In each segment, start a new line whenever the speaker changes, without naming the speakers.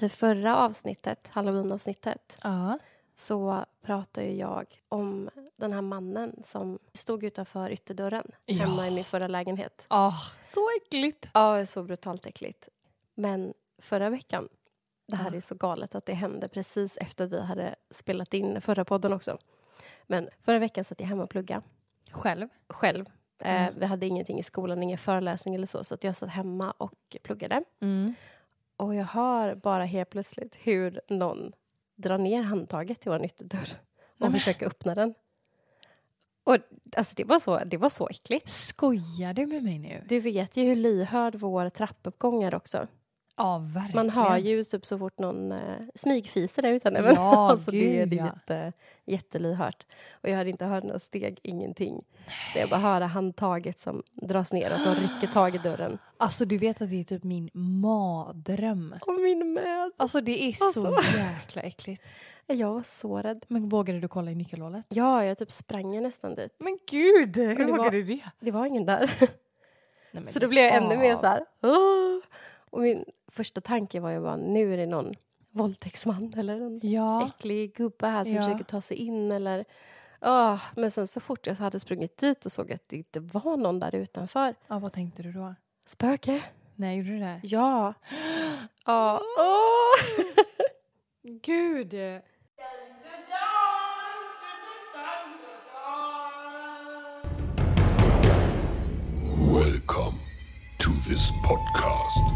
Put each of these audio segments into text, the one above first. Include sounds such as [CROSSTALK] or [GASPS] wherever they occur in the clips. I förra avsnittet, halloweenavsnittet,
Ja.
så pratade ju jag om den här mannen som stod utanför ytterdörren
Ja.
hemma i min förra lägenhet.
Ah, så äckligt.
Ja, så brutalt äckligt. Men förra veckan, det här
Ja.
är så galet att det hände precis efter vi hade spelat in förra podden också. Men förra veckan satt jag hemma och plugga
Själv?
själv. Eh,
Mm.
vi hade ingenting i skolan, ingen föreläsning eller så, så att jag satt hemma och pluggade. Och jag hör bara helt plötsligt hur någon drar ner handtaget till vår ytterdörr och
men-
försöker öppna den. Och alltså, det var så, det var så äckligt.
Skojar du med mig nu?
Du vet ju hur lyhörd vår trappuppgång är också.
Ja, verkligen.
Man hör ju typ så fort någon eh, smygfiser där ute.
Ja,
[LAUGHS] alltså, det är
gud, ja.
jätte, jättelyhört. Och jag hade inte hört några steg, ingenting. Det jag bara hörde handtaget som dras ner och de rycker tag i
[GASPS]
dörren.
Alltså du vet att det är typ min mardröm.
Och min med!
Alltså det är
Alltså. [LAUGHS]
så jäkla äckligt.
Jag var så rädd.
Men vågade du kolla i nyckelhålet?
Ja, jag typ sprang ju nästan dit.
Men gud,
det
hur
var-
du det?
Det var ingen där.
Nej, men
[LAUGHS] Så då blev jag ännu mer
av.
så här... "Åh!" Och min första tanke var ju bara, nu är det någon våldtäktsman eller en
Ja.
äcklig gubbe här som
Ja.
försöker ta sig in eller... Ah, men sen så fort jag hade sprungit dit och såg att det inte var någon där utanför.
ja, vad tänkte du då?
Spöke?
Nej, gjorde du det?
Ja. Ja. Åh!
[LAUGHS] Gud!
Welcome to this podcast.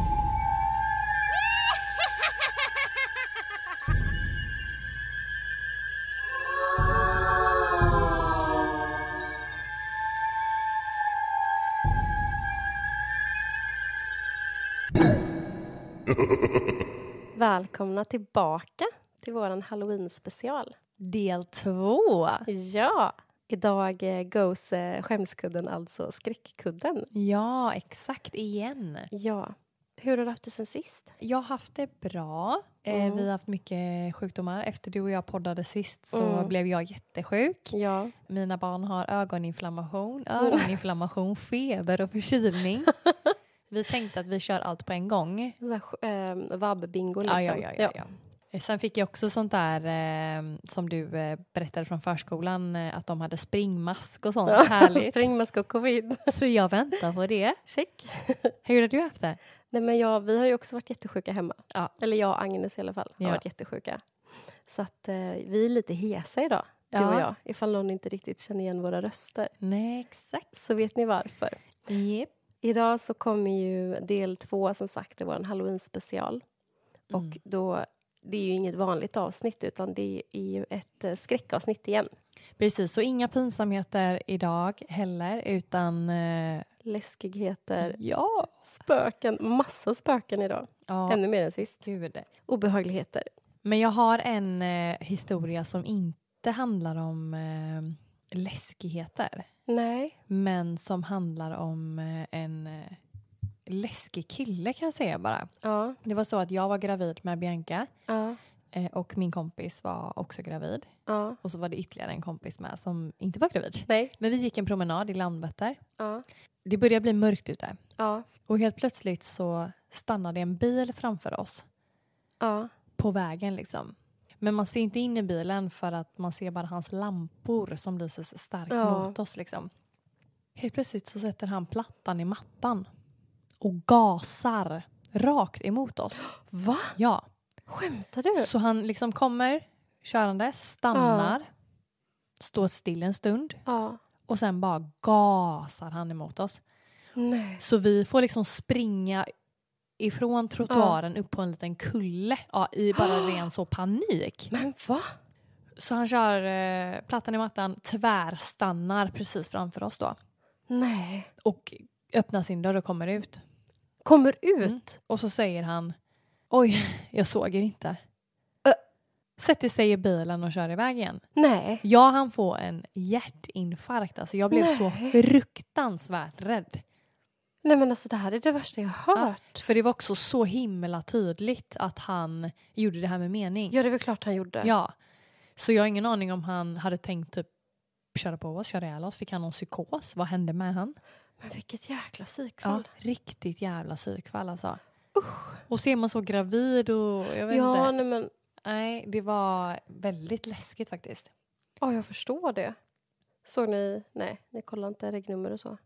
Välkomna tillbaka till våran halloween-special.
Del två.
Ja! Idag eh, goes eh, skämskudden, alltså skräckkudden.
Ja, exakt igen.
Ja. Hur har du haft det sen sist?
Jag har haft det bra. Eh,
Mm.
Vi har haft mycket sjukdomar. Efter du och jag poddade sist så
Mm.
blev jag jättesjuk.
Ja.
Mina barn har ögoninflammation, öroninflammation, feber och förkylning. vi tänkte att vi kör allt på en gång.
Så här, eh, Vabb-bingo liksom.
Ja, ja, ja, ja, ja. Eh, Sen fick jag också sånt där eh, som du eh, berättade från förskolan, eh, att de hade springmask och sånt. Härligt.
Sprängmask och covid.
Så jag väntar på det.
Check.
Hur har du haft det?
Nej, men jag, vi har ju också varit jättesjuka hemma.
Ja.
Eller jag och Agnes i alla fall har
Ja.
varit jättesjuka. Så att eh, vi är lite hesa idag, du
Ja.
och jag. Ifall någon inte riktigt känner igen våra röster.
Nej, exakt.
Så vet ni varför.
Yep.
Idag så kommer ju del två, som sagt, i vår halloween-special.
Mm.
Och då, det är ju inget vanligt avsnitt, utan det är ju ett eh, skräckavsnitt igen.
Precis, så inga pinsamheter idag heller utan... eh,
Läskigheter,
ja!
spöken, massa spöken idag.
ja
Ännu mer än sist.
gud.
Obehagligheter.
Men jag har en eh, historia som inte handlar om eh, läskigheter
Nej.
men som handlar om eh, en eh, läskig kille kan jag säga bara.
Ja.
Det var så att jag var gravid med Bianca
Ja.
eh, och min kompis var också gravid
Ja.
och så var det ytterligare en kompis med som inte var gravid.
Nej.
Men vi gick en promenad i Landvetter.
Ja.
Det började bli mörkt ute.
Ja.
Och helt plötsligt så stannade en bil framför oss
Ja.
på vägen liksom. Men man ser inte in i bilen för att man ser bara hans lampor som lyser så starkt
Ja.
mot oss liksom. Helt plötsligt så sätter han plattan i mattan och gasar rakt emot oss.
Va?
Ja,
Skämtar du?
så han liksom kommer körande, stannar, står still en stund
Ja.
och sen bara gasar han emot oss.
Nej.
Så vi får liksom springa ifrån trottoaren upp på en liten kulle ja, i
[GASPS]
bara ren så panik.
Men va?
Så han kör eh, plattan i mattan, tvärstannar precis framför oss då
Nej.
och öppnar sin dörr och kommer ut.
Kommer ut?
Mm. Och så säger han Oj, [LAUGHS] jag såg er inte.
Ö.
Sätter sig i bilen och kör iväg igen.
Nej.
Ja, han får en hjärtinfarkt. Alltså jag blev så
Nej.
fruktansvärt rädd.
Nej men alltså det här är det värsta jag har hört.
För det var också så himla tydligt att han gjorde det här med mening.
Ja det är väl klart han gjorde.
Ja. Så jag har ingen aning om han hade tänkt typ köra på oss, köra ihjäl oss. Fick han någon psykos? Vad hände med han?
Men vilket jäkla
Ja,
psykfall.
riktigt jävla psykfall alltså. Och så är man så gravid och jag vet
Ja,
inte.
nej men
Nej, det var väldigt läskigt faktiskt.
ja jag förstår det. Såg ni? Nej, ni kollade inte regnummer och så?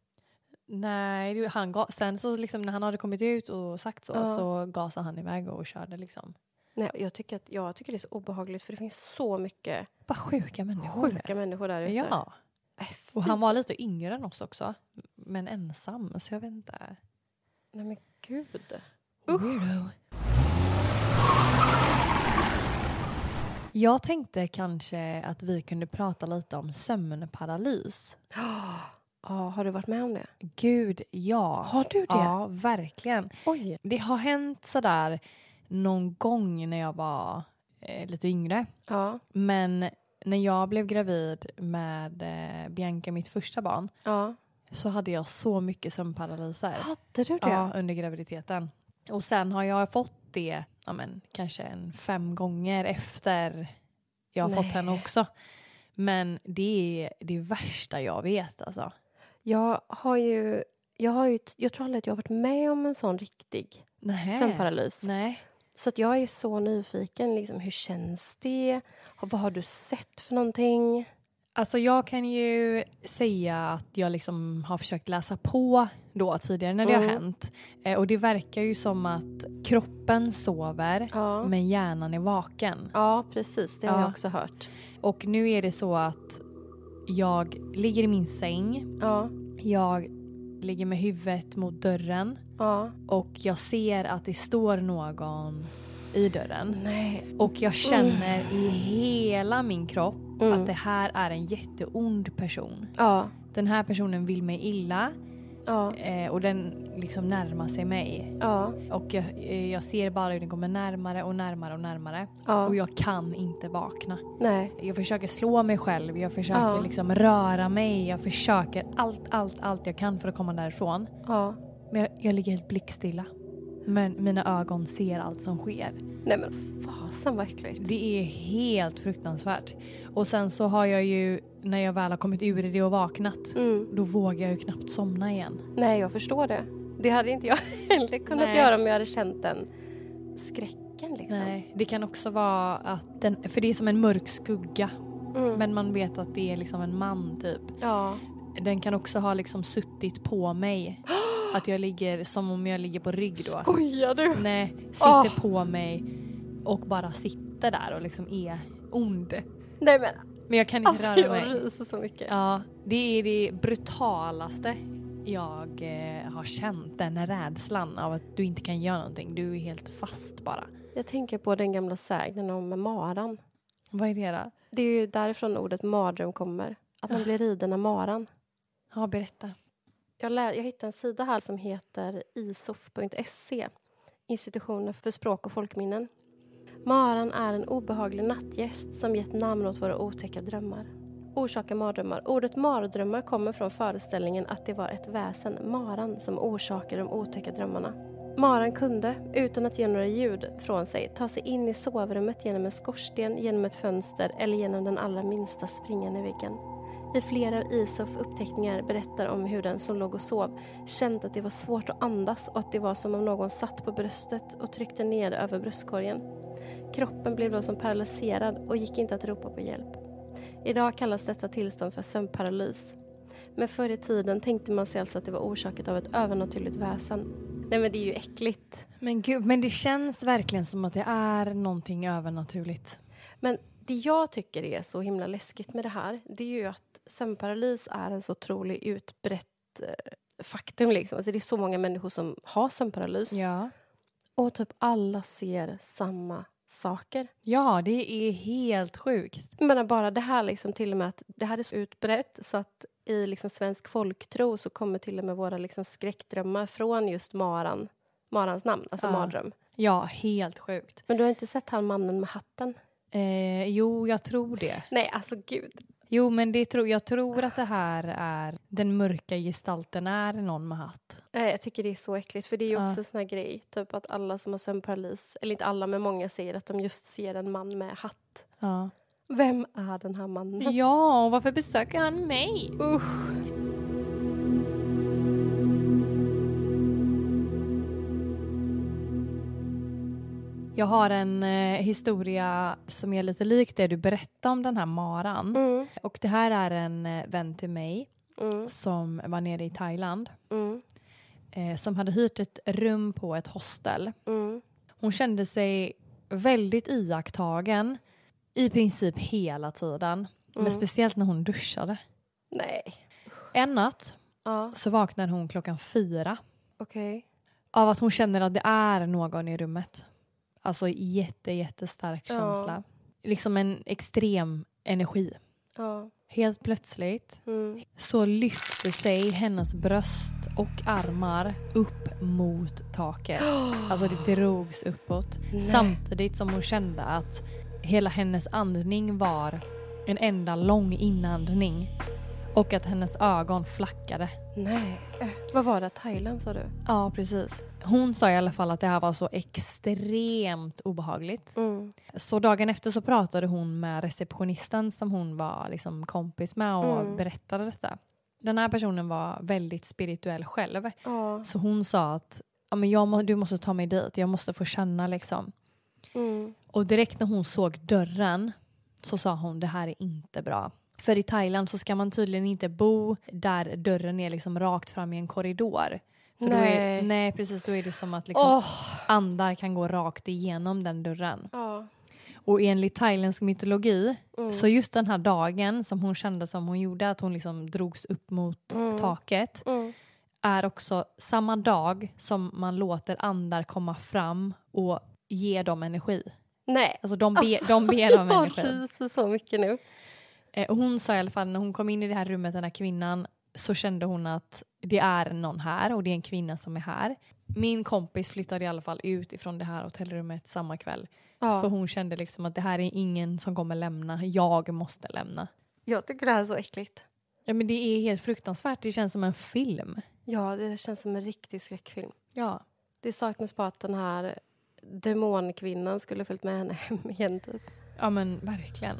Nej, det- han ga- sen så liksom när han hade kommit ut och sagt så,
Ja.
så gasade han iväg och körde liksom.
Nej, jag tycker, att, jag tycker det är så obehagligt för det finns så mycket
Bara sjuka människor.
sjuka människor där ute.
Ja,
Äh,
och
fy.
han var lite yngre än oss också. Men ensam, så jag vet inte.
Nej men gud.
Weirdo. Jag tänkte kanske att vi kunde prata lite om sömnparalys.
Ja, har du varit med om det?
Gud, ja.
Har du det?
Ja, verkligen.
Oj.
Det har hänt sådär någon gång när jag var eh, lite yngre.
Ja.
Men när jag blev gravid med eh, Bianca, mitt första barn,
ja.
så hade jag så mycket sömnparalyser
Hade du det?
ja, under graviditeten. Och sen har jag fått det ja, men, kanske en fem gånger efter jag har fått
Nej.
henne också. Men det är det värsta jag vet alltså.
Jag har ju... Jag, har ju, jag tror aldrig att jag har varit med om en sån riktig
Nej.
sömnparalys.
Nej.
Så att jag är så nyfiken. Liksom, hur känns det? Har- Vad har du sett för någonting?
Alltså jag kan ju säga att jag liksom har försökt läsa på då tidigare när det har
Mm.
hänt. Eh, och det verkar ju som att kroppen sover
Ja,
men hjärnan är vaken.
ja precis. Det har
Ja.
jag också hört.
Och nu är det så att jag ligger i min säng,
Ja,
jag ligger med huvudet mot dörren
ja.
och jag ser att det står någon i dörren.
Nej.
Och jag känner i hela min kropp
Mm.
att det här är en jätteond person.
Ja,
Den här personen vill mig illa
ja,
eh, och den liksom närmar sig mig.
ja,
Och jag, eh, jag ser bara hur den kommer närmare och närmare och närmare.
ja.
Och jag kan inte vakna.
Nej.
Jag försöker slå mig själv, jag försöker
Ja.
liksom röra mig, jag försöker allt, allt, allt jag kan för att komma därifrån.
Ja.
Men jag, jag ligger helt blickstilla. Men mina ögon ser allt som sker.
Nej men fasen vad äckligt.
Det är helt fruktansvärt. Och sen så har jag ju, när jag väl har kommit ur det och vaknat,
Mm.
då vågar jag ju knappt somna igen.
Nej, jag förstår det. Det hade inte jag [LAUGHS] heller kunnat
Nej.
göra om jag hade känt den skräcken liksom.
Nej. Det kan också vara att den, för det är som en mörk skugga,
Mm.
men man vet att det är liksom en man typ.
Ja.
Den kan också ha liksom suttit
[GASPS]
på mig. Att jag ligger som om jag ligger på rygg då.
Skojar du?
Nej, sitter
Åh.
på mig och bara sitter där och liksom är ond.
Nej men
Men jag kan inte
alltså
röra
jag
mig.
ryser så mycket.
Ja, det är det brutalaste jag eh, har känt. Den rädslan av att du inte kan göra någonting. Du är helt fast bara.
Jag tänker på den gamla sägnen om maran.
Vad är det då?
Det är ju därifrån ordet mardröm kommer. Att
Ah.
man blir riden av maran.
Ja, berätta.
Jag, lä- jag hittade en sida här som heter isof.se, Institutionen för språk och folkminnen. Maran är en obehaglig nattgäst som gett namn åt våra otäcka drömmar. Orsakar mardrömmar. Ordet mardrömmar kommer från föreställningen att det var ett väsen, maran, som orsakade de otäcka drömmarna. Maran kunde, utan att ge några ljud från sig, ta sig in i sovrummet genom en skorsten, genom ett fönster eller genom den allra minsta springan i väggen. I flera av Isof uppteckningar berättar om hur den som låg och sov kände att det var svårt att andas och att det var som om någon satt på bröstet och tryckte ner över bröstkorgen. Kroppen blev då som paralyserad och gick inte att ropa på hjälp. Idag kallas detta tillstånd för sömnparalys. Men förr i tiden tänkte man sig alltså att det var orsakat av ett övernaturligt väsen. Nej men det är ju äckligt.
Men gud, men det känns verkligen som att det är någonting övernaturligt.
Men det jag tycker är så himla läskigt med det här det är ju att sömnparalys är en så otroligt utbrett eh, faktum. Liksom. Alltså det är så många människor som har sömnparalys
Ja.
och typ alla ser samma saker.
Ja, det är helt sjukt.
Jag menar bara det här liksom till och med att det här är så utbrett så att i liksom svensk folktro så kommer till och med våra liksom skräckdrömmar från just maran, marans namn, alltså
Ja.
mardröm.
Ja, helt sjukt.
Men du har inte sett han mannen med hatten?
Eh, jo, jag tror det.
Nej, alltså gud.
Jo, men det tror jag tror att det här är den mörka gestalten är någon med hatt.
Nej, jag tycker det är så äckligt för det är ju
Ja.
också en sån här grej, typ att alla som har sömnparalys, eller inte alla men många säger att de just ser en man med hatt.
Ja.
Vem är den här mannen?
Ja, och varför besöker han mig?
Usch!
Jag har en eh, historia som är lite lik det du berättade om den här maran.
Mm,
Och det här är en eh, vän till mig
mm,
som var nere i Thailand
mm,
eh, som hade hyrt ett rum på ett hostel.
mm,
Hon kände sig väldigt iakttagen i princip hela tiden. Men
mm.
speciellt när hon duschade.
Nej.
En natt
Ja,
så vaknar hon klockan fyra
okej.
av att hon känner att det är någon i rummet. Alltså jätte, jättestark
Ja.
känsla. Liksom en extrem energi.
Ja.
Helt plötsligt [GASPS]
Mm.
så lyfter sig hennes bröst och armar upp
[GASPS]
mot taket. Alltså det drogs uppåt.
Nej.
Samtidigt som hon kände att hela hennes andning var en enda lång inandning. Och att hennes ögon flackade.
Nej. Äh, vad var det? Thailand sa du?
Ja, precis. Hon sa i alla fall att det här var så extremt obehagligt.
Mm.
Så dagen efter så pratade hon med receptionisten som hon var liksom kompis med och
Mm.
berättade detta. Den här personen var väldigt spirituell själv.
Ja.
Så hon sa att ja, men jag må, du måste ta mig dit, jag måste få känna liksom.
Mm.
Och direkt när hon såg dörren så sa hon det här är inte bra. För i Thailand så ska man tydligen inte bo där dörren är liksom rakt fram i en korridor. För Då är,
Nej.
nej precis, då är det som att liksom
Åh.
andar kan gå rakt igenom den dörren.
Ja.
Och enligt thailändsk mytologi
Mm.
så just den här dagen som hon kände som hon gjorde, att hon liksom drogs upp mot
Mm.
taket,
Mm.
är också samma dag som man låter andar komma fram och ge dem energi.
Nej.
Alltså de, be, de ber [LAUGHS]
[LAUGHS]
om
Jag
energi.
ryser så mycket nu.
Eh, och Hon sa i alla fall när hon kom in i det här rummet, den här kvinnan, så kände hon att det är någon här och det är en kvinna som är här. Min kompis flyttade i alla fall ut ifrån det här hotellrummet samma kväll. För
Ja.
hon kände liksom att det här är ingen som kommer lämna, jag måste lämna.
Jag tycker det här är så äckligt.
Ja, men det är helt fruktansvärt, det känns som en film.
Ja, det där känns som en riktig skräckfilm.
Ja.
Det saknas bara att den här demonkvinnan skulle följt med henne hem igen, typ.
Ja men verkligen.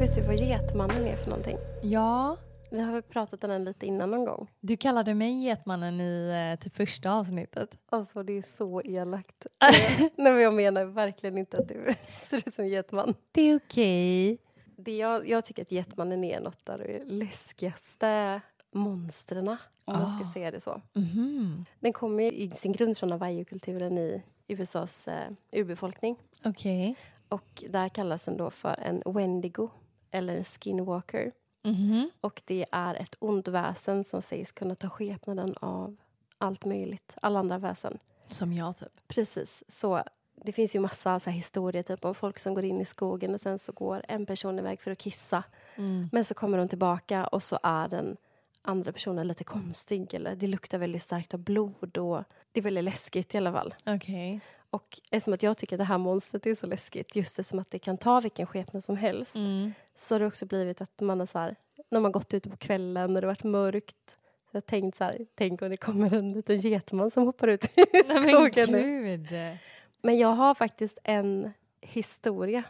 Vet du vad Getmannen är för någonting?
Ja,
Vi har väl pratat om den lite innan någon gång.
du kallade mig Getmannen i eh, typ första avsnittet.
Alltså det är så elakt. [LAUGHS] Nej men jag menar verkligen inte att du [LAUGHS] ser ut som getman.
Det är okej.
Det jag, jag tycker att getmannen är något av de läskigaste monstren, om man ska
Ah.
säga det så.
Mhm.
Den kommer ju i sin grund från Hawaii-kulturen i USAs eh, urbefolkning.
Okej.
Och där kallas den då för en wendigo, eller en skinwalker.
Mhm.
Och det är ett ont väsen som sägs kunna ta skepnaden av allt möjligt, alla andra väsen.
Som jag typ.
Precis. Så det finns ju massa så här historier typ, om folk som går in i skogen och sen så går en person iväg för att kissa.
Mm.
Men så kommer de tillbaka och så är den andra personen lite konstig eller det luktar väldigt starkt av blod och det är väldigt läskigt i alla fall.
Okej.
Och eftersom att jag tycker att det här monstret är så läskigt just eftersom att det kan ta vilken skepnad som helst
[LAUGHS] Mm.
så har det också blivit att man har så här, när man gått ute på kvällen och det har varit mörkt så har jag tänkt så här, tänk om det kommer en liten getman som hoppar ut i
Nej men
skogen nu.
gud.
Men jag har faktiskt en historia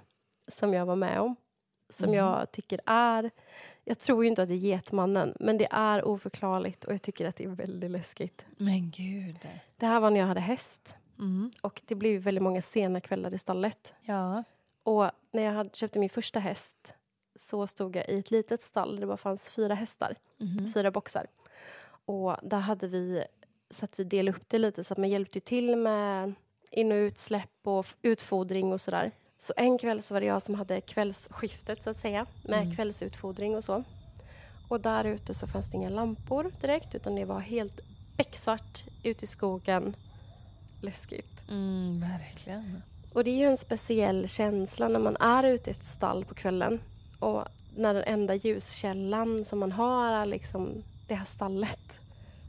som jag var med om som
Mhm.
jag tycker är... Jag tror ju inte att det är Getmannen, men det är oförklarligt och jag tycker att det är väldigt läskigt.
Men gud.
Det här var när jag hade häst
Mm.
och det blev väldigt många sena kvällar i stallet.
Ja.
Och när jag hade, köpte min första häst så stod jag i ett litet stall där det bara fanns fyra hästar,
Mhm.
fyra boxar. Och där hade vi, så att vi delade upp det lite så att man hjälpte ju till med in och utsläpp och f- utfodring och sådär. Så en kväll så var det jag som hade kvällsskiftet så att säga med
Mm.
kvällsutfodring och så. Och där ute så fanns det inga lampor direkt utan det var helt becksvart ute i skogen. Läskigt.
Mm, verkligen.
Och det är ju en speciell känsla när man är ute i ett stall på kvällen och när den enda ljuskällan som man har är liksom det här stallet.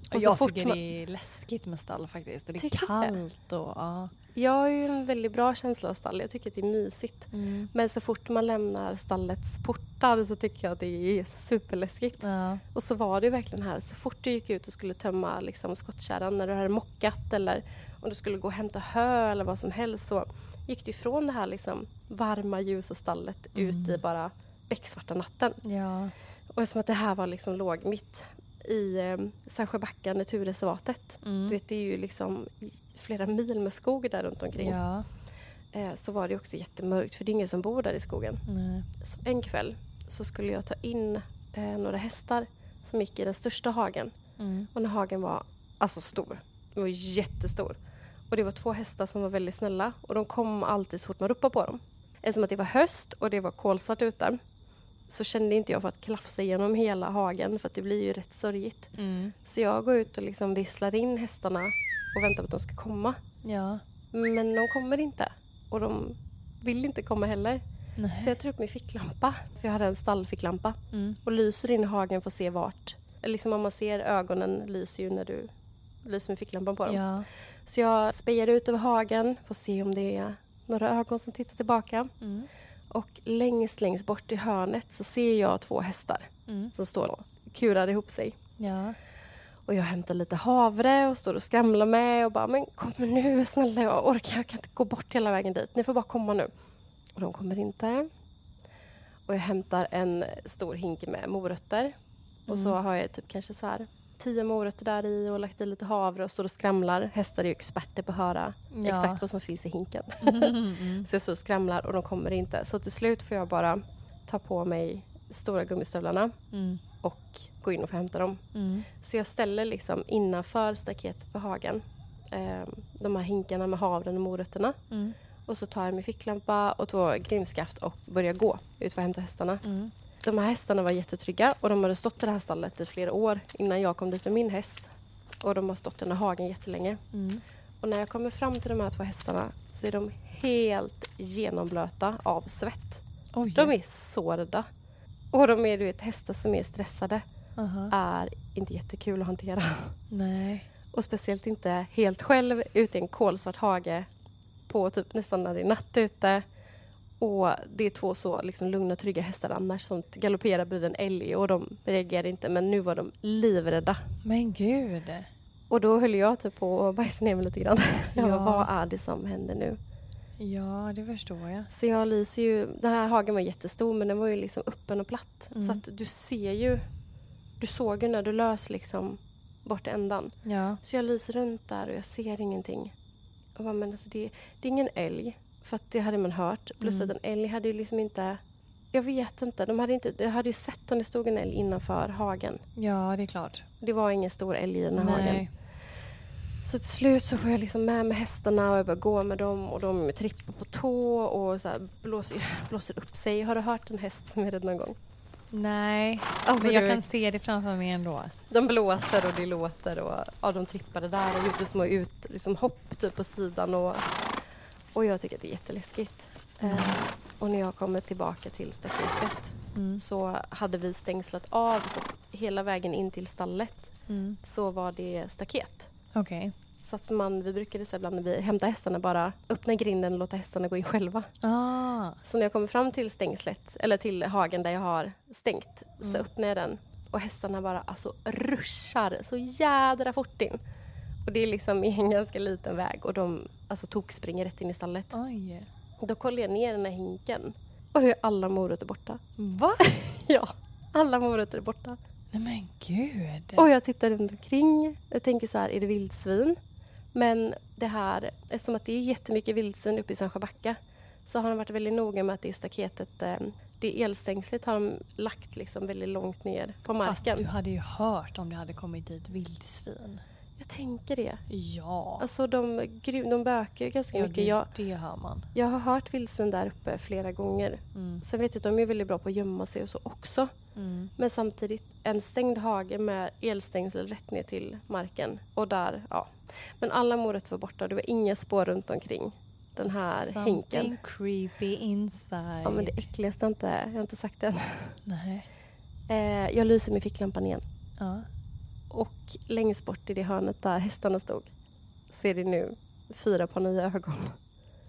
Och
Och
jag
så fort
tycker
man-
det är läskigt med stall faktiskt. Och det är
Tycker du det?
kallt och ja.
Jag har ju en väldigt bra känsla av stall. Jag tycker att det är mysigt.
Mm.
Men så fort man lämnar stallets portar så tycker jag att det är superläskigt.
ja.
Och så var det ju verkligen här. Så fort du gick ut och skulle tömma liksom, skottkärran när du hade mockat eller om du skulle gå och hämta hö eller vad som helst så gick du ifrån det här liksom, varma ljusa stallet
Mm.
ut i bara becksvarta natten.
Ja.
Och eftersom att det här var liksom låg mitt i eh, Sandsjöbacka naturreservatet.
Mm.
Du vet, det är ju liksom i- flera mil med skog där runt omkring.
Ja.
Eh, så var det också jättemörkt för det är ingen som bor där i skogen.
Nej.
Så en kväll så skulle jag ta in eh, några hästar som gick i den största hagen.
Mm.
Och den hagen var alltså stor. Den var jättestor. Och det var två hästar som var väldigt snälla och de kom alltid så fort man ropade på dem. Eftersom att det var höst och det var kolsvart ute så kände inte jag för att klafsa igenom hela hagen för att det blir ju rätt sörjigt.
Mm.
Så jag går ut och liksom visslar in hästarna och väntar på att de ska komma.
Ja.
Men de kommer inte. Och de vill inte komma heller.
Nej.
Så jag tar upp min ficklampa, för jag hade en stallficklampa,
Mm.
och lyser in i hagen för att se vart... Eller liksom om man ser ögonen lyser ju när du lyser med ficklampan på dem.
Ja.
Så jag spejar ut över hagen för att se om det är några ögon som tittar tillbaka.
Mm.
Och längst, längst bort i hörnet så ser jag två hästar
Mm.
som står och kurar ihop sig. [LAUGHS]
Ja.
Och jag hämtar lite havre och står och skramlar med och bara men kom nu snälla jag orkar, jag kan inte gå bort hela vägen dit. Ni får bara komma nu. Och de kommer inte. Och jag hämtar en stor hink med morötter. Och så har jag typ kanske så här tio morötter där i och lagt i lite havre och står och skramlar. Hästar är ju experter på att höra
Ja.
exakt vad som finns i hinken.
Mm. Mm.
Så jag står och skramlar och de kommer inte. Så till slut får jag bara ta på mig stora gummistövlarna
Mm.
och gå in och få hämta dem.
Mm.
Så jag ställer liksom innanför staketet på hagen eh, de här hinkarna med havren och morötterna.
Mm.
Och så tar jag min ficklampa och två grimskaft och börjar gå ut för att hämta hästarna.
Mm.
De här hästarna var jättetrygga och de hade stått i det här stallet i flera år innan jag kom dit med min häst. Och de har stått i den här hagen jättelänge.
Mm.
Och när jag kommer fram till de här två hästarna så är de helt genomblöta av svett.
Oj.
De är så rädda. Och de är du vet, hästar som är stressade.
Aha.
Är inte jättekul att hantera.
Nej.
Och speciellt inte helt själv ute i en kolsvart hage på typ nästan när det är natt ute. Och det är två så liksom lugna och trygga hästar annars som galopperar bredvid en älg och de reagerar inte men nu var de livrädda.
Men gud.
Och då höll jag typ på att bajsa ner mig lite grann. [LAUGHS] Jag
Ja.
bara, vad är det som händer nu?
Ja, det förstår jag.
Så jag lyser ju, den här hagen var jättestor men den var ju liksom öppen och platt.
Mm.
Så att du ser ju, du såg ju när du lös liksom bort ändan.
Ja.
Så jag lyser runt där och jag ser ingenting. Jag bara, men alltså det, det är ingen älg, för att det hade man hört. Plus
Mm.
att en älg hade ju liksom inte... Jag vet inte. De hade, inte, de hade ju sett om det stod en älg innanför hagen.
Ja, det är klart.
Det var ingen stor älg i den här hagen.
Nej.
Så till slut så får jag liksom med mig hästarna och jag börjar gå med dem och de trippar på tå och så här blåser, blåser upp sig. Har du hört en häst som är rädd någon gång?
Nej.
Alltså,
Men jag
du-
kan se det framför mig ändå.
De blåser och det låter och ja, de trippade där och gjorde små ut, liksom hopp typ på sidan. Och, och jag tycker att det är jätteläskigt. Eh, och när jag kommer tillbaka till staketet
Mm.
så hade vi stängslat av så att hela vägen in till stallet
Mm.
så var det staket.
Okej.
Så att man, vi brukade så här ibland när vi hämtar hästarna bara öppna grinden och låta hästarna gå in själva.
Ah.
Så när jag kommer fram till stängslet, eller till hagen där jag har stängt, så öppnar jag den och hästarna bara alltså ruschar så jädra fort in. Och det är liksom en [LAUGHS] ganska liten väg och de alltså, tok springer rätt in i stallet.
Oj.
Då kollar jag ner den här hinken och då är alla morötter borta. [LAUGHS]
Va?
Ja, alla morötter är borta.
Nej men gud.
Och jag tittar runt omkring. Jag tänker så här, är det vildsvin? Men det här, eftersom att det är jättemycket vildsvin uppe i Sandsjöbacka så har de varit väldigt noga med att det är staketet, eh, det elstängslet har de lagt liksom väldigt långt ner på
Fast
marken.
du hade ju hört om det hade kommit dit vildsvin.
Jag tänker det.
Ja.
Alltså de, gry- de bökar ju ganska
ja det,
mycket. Jag,
det hör man.
jag har hört vildsvin där uppe flera gånger.
Mm.
Sen vet jag att de är väldigt bra på att gömma sig och så också.
Mm.
Men samtidigt en stängd hage med elstängsel rätt ner till marken. Och där, ja. Men alla morötter var borta och det var inga spår runt omkring den här
Alltså, Something
hinken.
creepy inside.
Ja, men det äckligaste har inte, jag har inte sagt det än.
Nej.
Eh, jag lyser med ficklampan igen.
Ja.
Och längst bort i det hörnet där hästarna stod ser det nu fyra par nya ögon.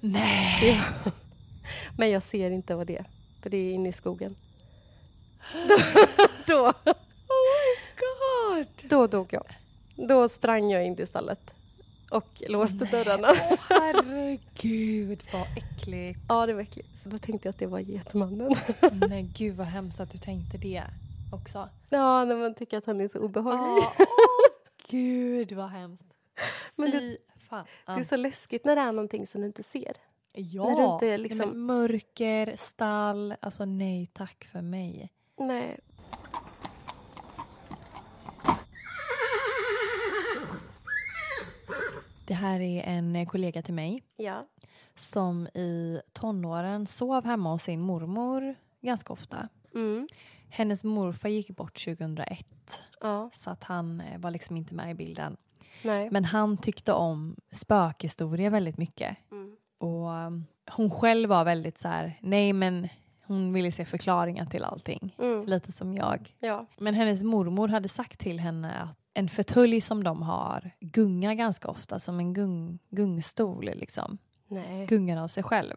Nej.
Ja. Men jag ser inte vad det är, för det är inne i
[GASPS]
skogen. Då, då,
Oh God.
då dog jag. Då sprang jag in i stallet och låste dörrarna.
Herregud vad äckligt.
Ja, det var äckligt. Då tänkte jag att det var Getmannen.
Nej gud vad hemskt att du tänkte det. också.
Ja, när man tycker att han är så obehaglig. [LAUGHS]
Ja, åh, gud vad hemskt.
Men det-
Fy fan.
Det är så läskigt när det är någonting som du inte ser.
ja.
när du inte
Nej,
liksom-
men mörker, stall, alltså nej tack för mig.
Nej.
Det här är en eh, kollega till mig
Ja.
som i tonåren sov hemma hos sin mormor ganska ofta.
Mm.
Hennes morfar gick bort 2001
Ja.
så att han eh, var liksom inte med i bilden.
Nej.
Men han tyckte om spökhistorier väldigt mycket.
Mm.
Och um, hon själv var väldigt så här, nej men hon ville se förklaringar till allting.
Mm.
Lite som jag.
Ja.
Men hennes mormor hade sagt till henne att en fåtölj som de har gungar ganska ofta, som en gung, gungstol liksom.
Nej.
Gungar av sig själv.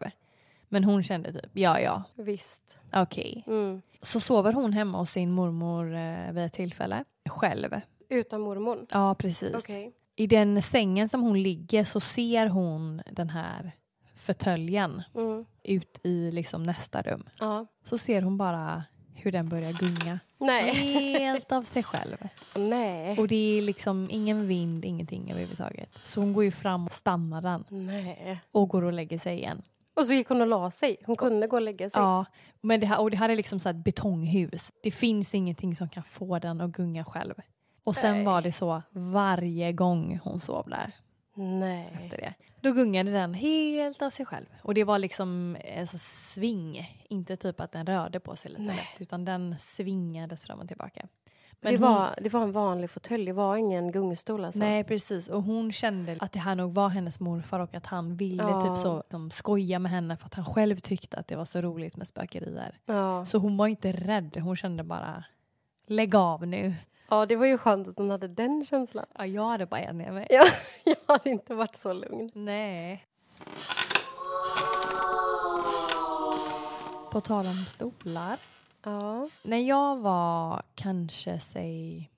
Men hon kände typ, ja ja,
Visst.
okej.
Mm.
Så sover hon hemma hos sin mormor eh, vid ett tillfälle, själv.
Utan mormor.
Ja, precis.
Okej.
I den sängen som hon ligger så ser hon den här fåtöljen
Mm.
ut i liksom nästa rum.
Ja.
Så ser hon bara hur den börjar gunga.
Nej.
Helt av sig själv.
Nej.
Och det är liksom ingen vind, ingenting överhuvudtaget. Så hon går ju fram och stannar den
Nej.
och går och lägger sig igen.
Och så gick hon och la sig. Hon kunde gå och lägga sig.
Ja, men det här, och det här är liksom så här ett betonghus. Det finns ingenting som kan få den att gunga själv. Och sen
Nej.
var det så varje gång hon sov där
Nej.
efter det. Då gungade den helt av sig själv. Och det var liksom en sån sving. Inte typ att den rörde på sig lite
Nej.
lätt, utan den svingades fram och tillbaka.
Men det, var, det var en vanlig fåtölj. Det var ingen gungstol alltså.
Nej, precis. Och hon kände att det här nog var hennes morfar och att han ville
Ja.
typ så, liksom, skoja med henne för att han själv tyckte att det var så roligt med spökerier.
Ja.
Så hon var inte rädd, hon kände bara lägg av nu.
ja, det var ju skönt att hon hade den känslan. [LAUGHS]
Ja, jag hade bara ner mig.
Ja, jag hade inte varit så lugn.
Nej. På tal om stolar.
Ja.
När jag var kanske, säg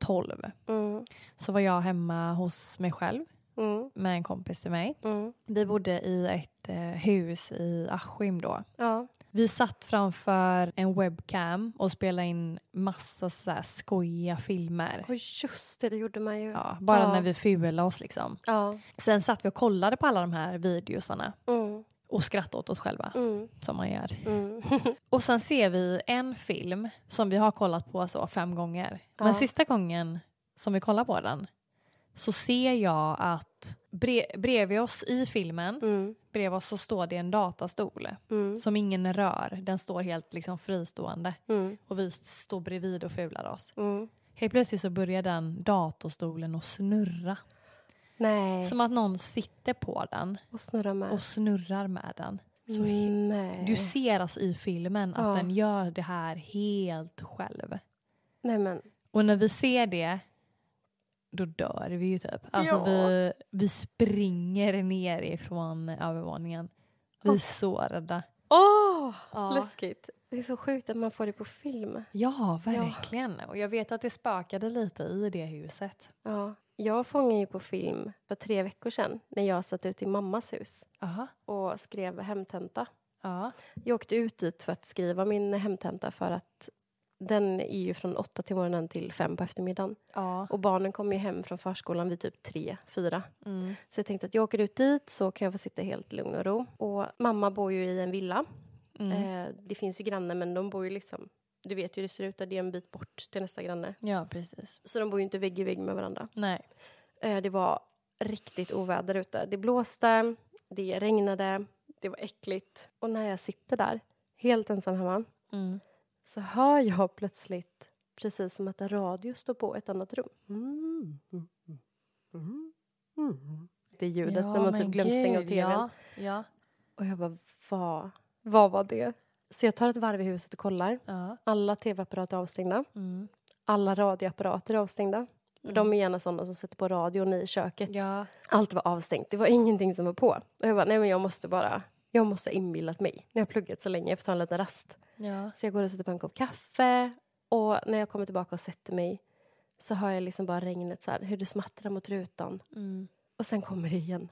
12
Mm.
så var jag hemma hos mig själv
Mm.
med en kompis till mig.
Mm.
Vi bodde i ett eh, hus i Askim då.
Ja.
Vi satt framför en webcam och spelade in massa så här skojiga filmer.
Och just det, det gjorde man ju.
Ja, bara
Ja.
när vi fulade oss liksom.
Ja.
Sen satt vi och kollade på alla de här videosarna
Mm.
och skrattade åt oss själva,
Mm.
som man gör.
Mm.
Och sen ser vi en film som vi har kollat på så fem gånger.
Ja.
Men sista gången som vi kollar på den så ser jag att bre- bredvid oss i filmen,
Mm.
bredvid oss så står det en datastol
Mm.
som ingen rör. Den står helt liksom fristående
Mm.
och vi står bredvid och fular oss.
Mm.
Helt plötsligt så börjar den datorstolen att snurra.
Nej.
Som att någon sitter på den
och snurra med.
och snurrar med den. Så he-
Nej.
du ser alltså i filmen att
Ja.
den gör det här helt själv.
Nej men.
Och när vi ser det, då dör vi ju typ. Alltså
Ja.
vi, vi springer ner ifrån övervåningen. Vi är så rädda.
Åh!
Ja,
Läskigt. Det är så sjukt att man får det på film.
ja verkligen. Och jag vet att det spökade lite i det huset.
Ja. Jag fångade ju på film för tre veckor sedan när jag satt ute i mammas hus
Aha.
och skrev hemtenta.
Ja.
Jag åkte ut dit för att skriva min hemtenta för att den är ju från åtta till morgonen till fem på eftermiddagen.
Ja.
Och barnen kommer ju hem från förskolan vid typ tre, fyra.
Mm.
Så jag tänkte att jag åker ut dit så kan jag få sitta helt lugn och ro. Och mamma bor ju i en villa.
Mm.
Eh, det finns ju grannar men de bor ju liksom, du vet ju hur det ser ut, där, det är en bit bort till nästa granne.
Ja, precis.
Så de bor ju inte vägg i vägg med varandra.
Nej.
Eh, Det var riktigt oväder ute. Det blåste, det regnade, det var äckligt. Och när jag sitter där, helt ensam hemma,
Mm.
så hör jag plötsligt precis som att en radio står på i ett annat rum.
Mm.
Det ljudet när man typ
men
glömt stänga av
gud,
tvn.
Ja. Ja.
Och jag bara, vad, vad var det? Så jag tar ett varv i huset och kollar.
ja.
Alla tv-apparater är avstängda.
Mm.
Alla radioapparater är avstängda. Och De är gärna sådana som sätter på radion i köket.
ja.
Allt var avstängt, det var ingenting som var på. Och jag bara, nej men jag måste bara, jag måste ha inbillat mig. Nu har jag pluggat så länge, jag får ta en liten rast.
Ja.
Så jag går och sätter på en kopp kaffe och när jag kommer tillbaka och sätter mig så hör jag liksom bara regnet så här, hur det smattrar mot rutan.
Mm.
Och sen kommer det igen.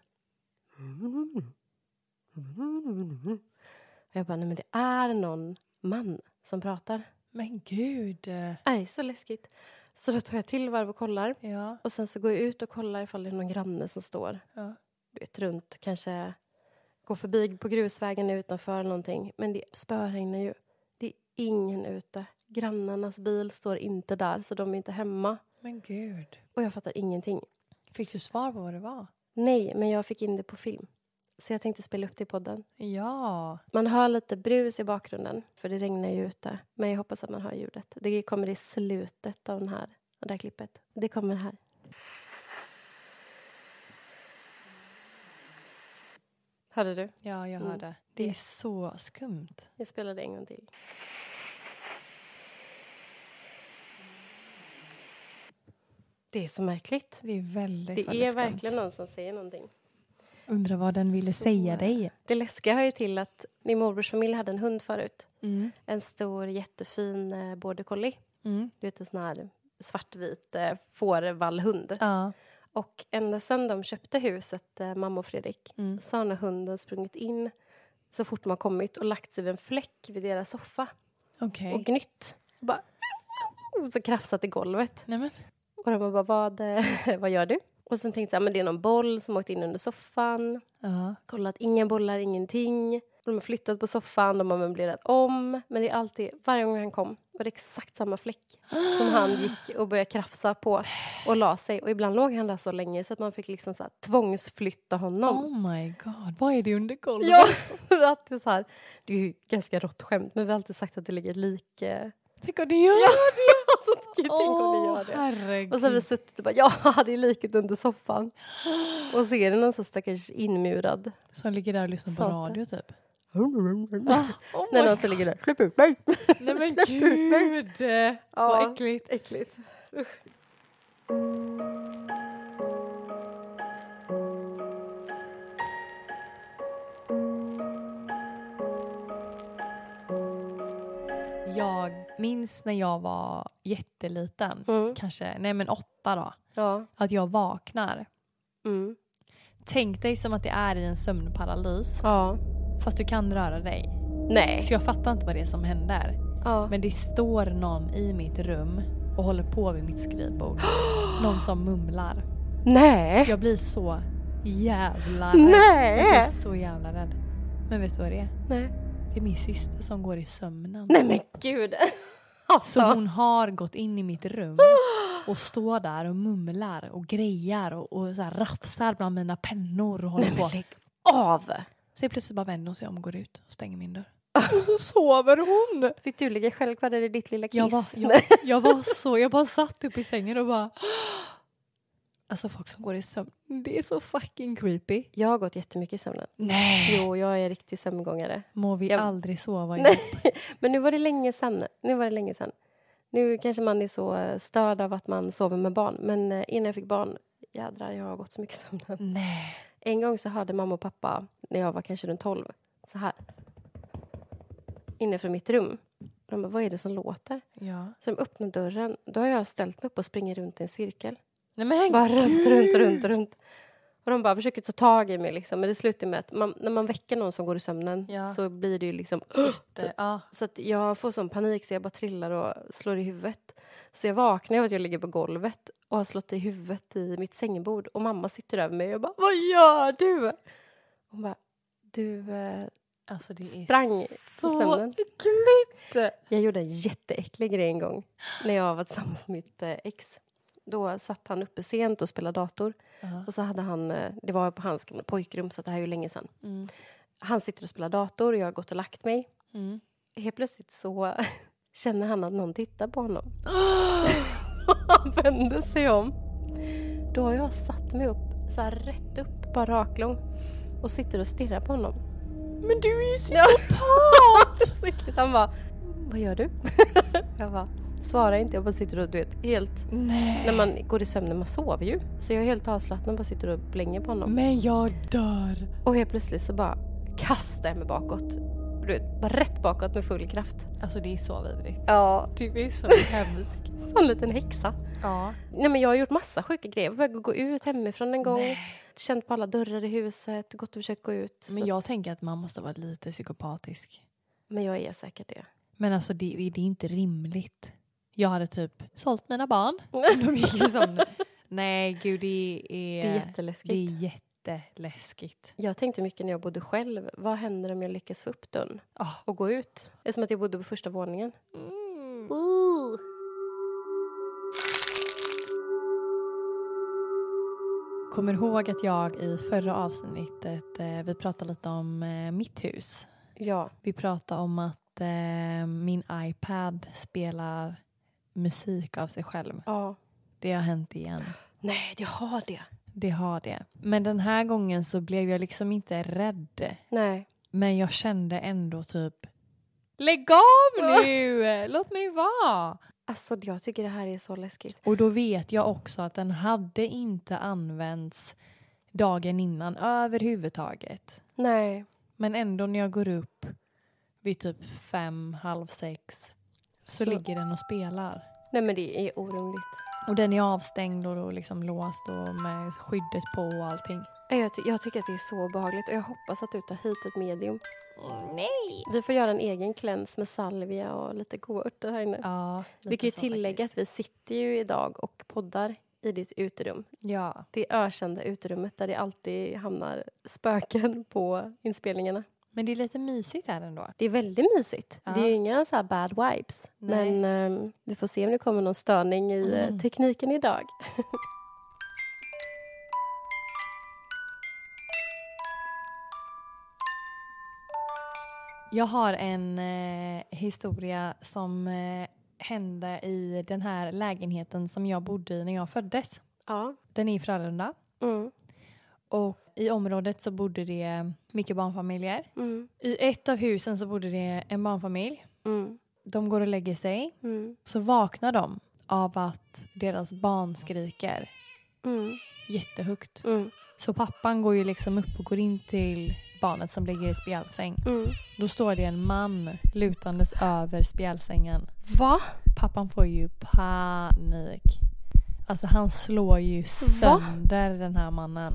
Och jag bara, nej men det är någon man som pratar.
Men gud. eh,
Nej, så läskigt. Så då tar jag till varv och kollar.
Ja.
Och sen så går jag ut och kollar ifall det är någon granne som står
ja.
du vet, runt, kanske går förbi på grusvägen utanför eller någonting. Men det spöregnar ju. Det är ingen ute. Grannarnas bil står inte där, så de är inte hemma.
Men gud.
Och jag fattar ingenting.
Fick du svar på vad det var?
Nej, men jag fick in det på film. Så jag tänkte spela upp det i podden.
Ja.
Man hör lite brus i bakgrunden, för det regnar ju ute. Men jag hoppas att man hör ljudet. Det kommer i slutet av den här, av det här klippet. Det kommer här. Hörde du?
Ja, jag
Mm.
hörde. Det är så skumt.
Jag spelar det en gång till. Det är så märkligt.
Det är väldigt,
Det
väldigt
är
skumt.
verkligen någon som säger någonting.
Undrar vad den ville säga dig.
Det läskiga hör ju till att min morbrors familj hade en hund förut.
Mm.
En stor jättefin eh, border collie.
Mm.
Du vet en sån här svartvit eh, fårvallhund.
Ja.
Och ända sedan de köpte huset, eh, mamma och Fredrik,
Mm.
så har den här hunden sprungit in så fort man kommit och lagt sig vid en fläck vid deras soffa
Okej.
och gnytt. Och bara, och så krafsat i golvet.
Nej men.
Och de bara, vad, eh, [LAUGHS] vad gör du? Och sen tänkte jag, men det är någon boll som åkt in under soffan.
Ja.
Kollat, inga bollar, ingenting. Och de har flyttat på soffan, de har möblerat om. Men det är alltid, varje gång han kom var det exakt samma fläck som han
[GASPS]
gick och började krafsa på och la sig. Och ibland låg han där så länge så att man fick liksom så här, tvångsflytta honom.
Oh my god. Vad är det under
[LAUGHS]
golvet?
Ja, det är alltid så här. Det är ju ganska rått skämt, men vi har alltid sagt att det ligger ett lik... eh, [LAUGHS]
Tänk om det gör det.
Tänk om det gör det.
herregud.
Och så har vi suttit och bara, ja, [LAUGHS] det är liket under
[GASPS]
soffan. Och så är det någon sån stackars inmurad.
Som ligger där och lyssnar på
Satan. Ah,
radio typ.
Oh När [LAUGHS] någon så ligger där, släpp ut mig!
alltså- Nej men gud. Vad äckligt.
Äckligt.
Jag minns när jag var jätteliten.
Mm.
Kanske, nej men åtta då.
Ja.
Att jag vaknar.
Mm.
Tänk dig som att det är i en sömnparalys.
Ja.
Fast du kan röra dig.
Nej.
Så jag fattar inte vad det är som händer.
Ja.
Men det står någon i mitt rum och håller på vid mitt skrivbord. Någon som mumlar.
Nej.
Jag blir så jävla rädd.
Nej.
Jag blir så jävla rädd. Men vet du vad det är?
Nej.
Det är min syster som går i sömnen.
Nej men [LAUGHS] gud. Alltså.
Så hon har gått in i
[GASPS]
mitt rum och står där och mumlar och grejar och, och så här rafsar bland mina pennor och håller
Nej men
på.
lägg av!
Så jag plötsligt bara vänder hon sig om och går ut och
[LAUGHS]
stänger min dörr. Och så sover hon!
Fick du ligga själv kvar där i ditt lilla kiss?
Jag var, jag,
Nej. [LAUGHS]
jag var så, jag bara satt upp i sängen och bara [GASPS] Alltså folk som går i sömn, det är så fucking creepy.
jag har gått jättemycket i sömnen.
Nej!
Jo, jag är en riktig sömngångare.
Må vi
Jag-
aldrig sova
Nej.
ihop.
Men nu var det länge sedan. Nu var det länge sedan. Nu kanske man är så eh, störd av att man sover med barn. Men eh, innan jag fick barn, jädrar, jag har gått så mycket i sömnen.
Nej.
En gång så hörde mamma och pappa, när jag var kanske runt 12, så här. Inne från mitt rum. De bara, vad är det som låter?
Ja.
Så de öppnar dörren. Då har jag ställt mig upp och springer runt i en cirkel.
Nej men
Bara runt, runt, runt, runt. Och de bara försöker ta tag i mig liksom. Men det slutar med att man, när man väcker någon som går i sömnen
Ja.
så blir det ju liksom
gud. Ja.
så att jag får sån panik så jag bara trillar och slår i huvudet. Så jag vaknar av att jag ligger på golvet och har slått i huvudet i mitt sängbord och mamma sitter över mig och bara Vad gör du? Hon bara Du, eh,
Alltså det är
Sprang i
så
sömnen.
äckligt!
jag gjorde en jätteäcklig grej en gång när jag var tillsammans med mitt eh, ex. Då satt han uppe sent och spelade dator
Ja.
och så hade han, eh, det var på hans gamla pojkrum så det här är ju länge sedan.
Mm.
Han sitter och spelar dator och jag har gått och lagt mig.
Mm.
Helt plötsligt så [LAUGHS] känner han att någon tittar på honom. han vänder sig om. Då har jag satt mig upp, så här rätt upp, bara raklång och sitter och stirrar på honom.
Men du är ju så...
Ja. [LAUGHS] Så äckligt. han bara, vad gör du? [LAUGHS] jag bara, svarar inte, jag bara sitter och du vet, helt...
Nej.
När man går i sömnen, man sover ju. Så jag är helt avslappnad och bara sitter och blänger på honom.
Men jag dör.
Och helt plötsligt så bara kastar jag mig bakåt. Du vet, bara rätt bakåt med full kraft.
Alltså det är så vidrigt.
Ja.
Du är så hemsk.
Som en liten häxa.
[LAUGHS] Ja.
Nej, men jag har gjort massa sjuka grejer. Jag vägrade gå ut hemifrån en gång. Känt på alla dörrar i huset, gått och försökt gå ut.
Men jag tänker att man måste vara lite psykopatisk.
men jag är säkert det.
Men alltså det, det är inte rimligt. Jag hade typ sålt mina barn. [LAUGHS] om De gick i sån. Nej gud det är,
Det är jätteläskigt.
det är jätteläskigt.
Jag tänkte mycket när jag bodde själv. Vad händer om jag lyckas få upp dörren
Ah.
och gå ut? Eftersom att jag bodde på första våningen.
Mm. Kommer ihåg att jag i förra avsnittet, eh, vi pratade lite om eh, mitt hus.
Ja,
Vi pratade om att eh, min iPad spelar musik av sig själv.
ja.
Det har hänt igen.
Nej, det har det.
Det har det. Men den här gången så blev jag liksom inte rädd.
Nej.
Men jag kände ändå typ Lägg av nu! Låt mig vara!
Alltså, jag tycker det här är så läskigt.
Och då vet jag också att den hade inte använts dagen innan överhuvudtaget.
Nej.
Men ändå när jag går upp vid typ fem, halv sex så,
Så-
ligger den och spelar.
Nej, men det är orimligt.
Och den är avstängd och då liksom låst och med skyddet på och allting.
Nej, Jag, ty- jag tycker att det är så obehagligt och jag hoppas att du tar hit ett medium.
Nej!
Vi får göra en egen cleanse med salvia och lite goda örter här inne.
Ja,
Vi kan ju
lite så
tillägga
faktiskt.
att vi sitter ju idag och poddar i ditt uterum.
Ja,
Det ökända uterummet där det alltid hamnar spöken på inspelningarna.
men det är lite mysigt här ändå.
Det är väldigt mysigt.
Ja.
Det är ju inga så här bad vibes.
Nej.
Men ehm, vi får se om det kommer någon störning i eh,
Mm.
tekniken idag.
Jag har en eh, historia som eh, hände i den här lägenheten som jag bodde i när jag föddes.
Ja.
Den är i Frölunda
Mm.
och i området så bodde det mycket barnfamiljer.
Mm.
I ett av husen så bodde det en barnfamilj.
Mm.
De går och lägger sig,
Mm.
så vaknar de av att deras barn skriker
Mm.
jättehögt.
Mm.
Så pappan går ju liksom upp och går in till barnet som ligger i spjälsäng.
Mm.
Då står det en man lutandes över spjälsängen
Va?
Pappan får ju panik. Alltså han slår ju sönder den här mannen.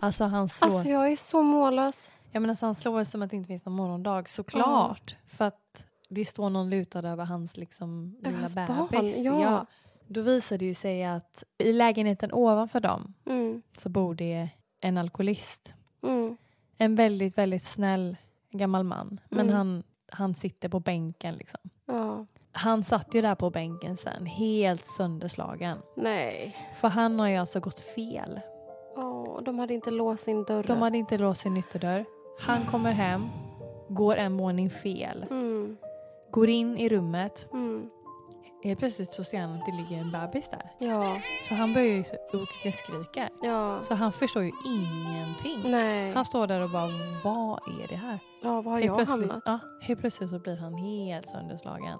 Alltså han slår,
Alltså jag är så mållös.
jag menar, så han slår som att det inte finns någon morgondag såklart. För att det står någon lutad över hans liksom
Över
lilla
hans barn,
bebis.
ja.
Då visar det ju sig att i lägenheten ovanför dem
Mm.
så bor det en alkoholist.
Mm.
En väldigt, väldigt snäll gammal man. Men
Mm.
han, han sitter på bänken liksom.
Ja.
Han satt ju där på bänken sen, helt sönderslagen.
Nej.
För han har ju alltså gått fel.
Åh, de hade inte låst sin dörr.
De hade inte låst sin ytterdörr. Han kommer hem, går en våning fel.
Mm.
Går in i rummet.
Mm.
Helt plötsligt så ser han att det ligger en bebis där.
Ja.
Så han börjar ju och skrika.
Ja.
Så han förstår ju ingenting.
Nej.
Han står där och bara, vad är det här?
Ja, var har
Helt
jag
plötsligt,
hamnat?
ja, helt plötsligt så blir han helt sönderslagen.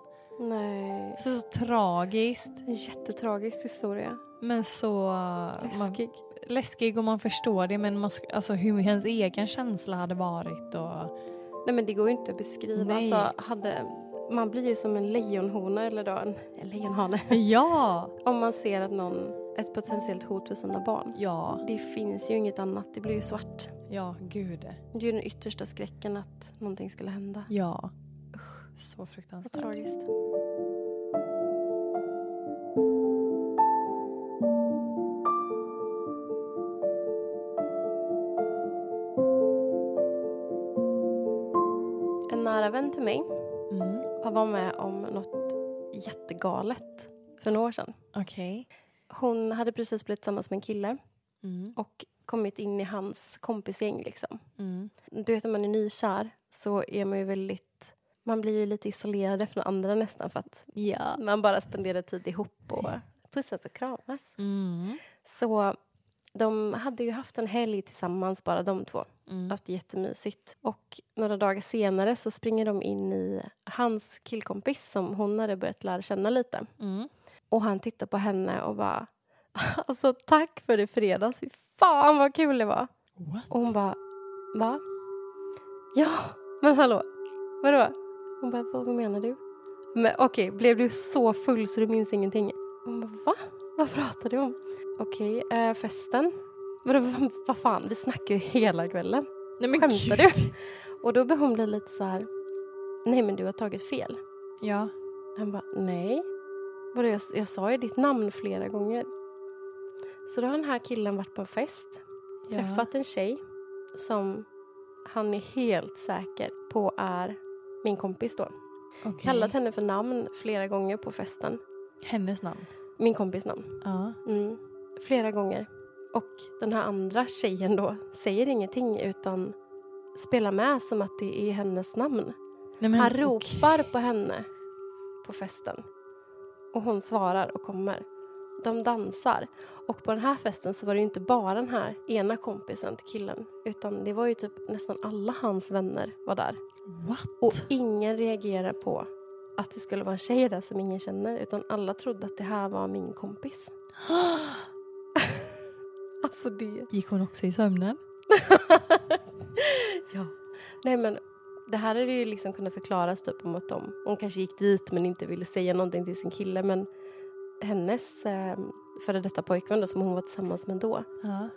Nej.
Så, så tragiskt,
En jättetragisk historia.
men så... Man,
Läskig.
läskig och man förstår det men man sk- alltså, hur hennes egen känsla hade
[LAUGHS]
varit och...
Nej men det går ju inte att beskriva.
Nej.
Alltså, hade, man blir ju som en lejonhona eller då en, en lejonhane. [LAUGHS]
Ja!
Om man ser att någon, ett potentiellt hot för sina barn.
Ja,
Det finns ju inget annat, det blir ju svart.
ja gud.
Det är ju den yttersta skräcken att någonting skulle hända.
Ja. Så fruktansvärt.
Tragiskt. En nära vän till mig
Mm.
har varit med om något jättegalet för några år sedan.
Okej.
Hon hade precis blivit tillsammans med en kille
Mm.
och kommit in i hans kompisgäng. Liksom.
Mm.
Du vet, när man är nykär så är man ju väldigt... Man blir ju lite isolerad från andra nästan för att
Ja.
man bara spenderar tid ihop och [LAUGHS] pussas och kramas.
Mm.
Så de hade ju haft en helg tillsammans, bara de två.
Mm.
Haft det jättemysigt. Och några dagar senare så springer de in i hans killkompis som hon hade börjat lära känna lite.
Mm.
Och han tittar på henne och bara [LAUGHS] Alltså tack för det fredags, fy fan vad kul det var.
What?
Och hon bara Va? Ja, men hallå, vadå? Hon bara vad vad menar du? Men okej, blev du så full så du minns ingenting? Hon bara va? Vad pratar du om? Okej, eh, festen? Vadå, vad, vad fan, vi snackar ju hela kvällen.
Nej men
Skämtar [LAUGHS]
gud.
Och då började hon bli lite så här nej men du har tagit fel.
Ja.
Han bara, nej. Vadå, jag, jag sa ju ditt namn flera gånger. Så då har den här killen varit på en fest,
ja.
träffat en tjej som han är helt säker på är min kompis då.
Okej.
Kallat henne för namn flera gånger på festen.
hennes namn.
Min kompis namn.
Ja.
Mm. Flera gånger. Och den här andra tjejen då säger ingenting utan spelar med som att det är hennes namn.
Nej, men,
Han
okej.
ropar på henne på festen. Och hon svarar och kommer. De dansar. Och på den här festen så var det ju inte bara den här ena kompisen till killen. Utan det var ju typ nästan alla hans vänner var där.
What?
Och ingen reagerar på att det skulle vara en tjej där som ingen känner. Utan alla trodde att det här var min kompis. [GASPS] alltså det...
Gick hon också i sömnen?
Ja. Nej men det här hade ju liksom kunnat förklaras typ om att de, hon kanske gick dit men inte ville säga någonting till sin kille men hennes eh, före detta pojkvän då, som hon var tillsammans med då
Ja.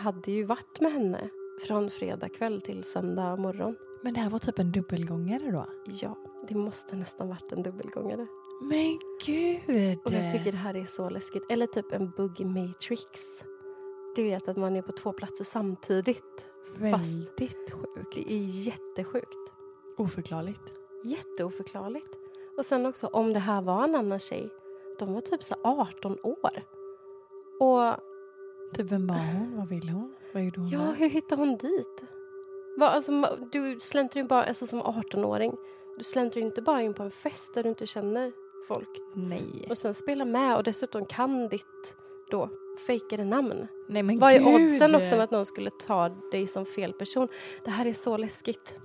hade ju varit med henne från fredag kväll till söndag morgon.
Men det här var typ en dubbelgångare då?
Ja, det måste nästan varit en dubbelgångare.
Men gud!
Och jag tycker det här är så läskigt. Eller typ en bugg i Matrix. Du vet att man är på två platser samtidigt.
Väldigt sjukt.
Det är jättesjukt.
Oförklarligt.
Jätteoförklarligt. Och sen också, om det här var en annan tjej, de var typ så 18 år. Och
Typ vem var hon? Vad ville hon? Vad gjorde hon
ja,
där?
hur hittade hon dit? Va, alltså, ma- du släntrar ju bara, alltså som 18-åring, du släntrar ju inte bara in på en fest där du inte känner folk.
Nej.
Och sen spela med och dessutom kan ditt då fejkade namn.
Nej men
Vad
gud!
är oddsen också om att någon skulle ta dig som fel person? Det här är så läskigt.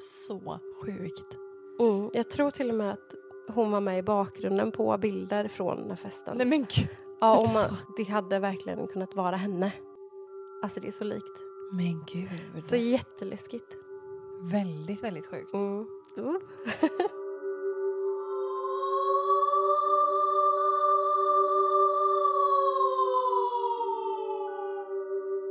Så sjukt.
Mm, jag tror till och med att hon var med i bakgrunden på bilder från den här festen.
Nej men gud.
Ja,
Lite
om man, det hade verkligen kunnat vara henne. Alltså det är så likt.
Men gud.
Så jätteläskigt.
Väldigt, väldigt sjukt.
Mm. Uh.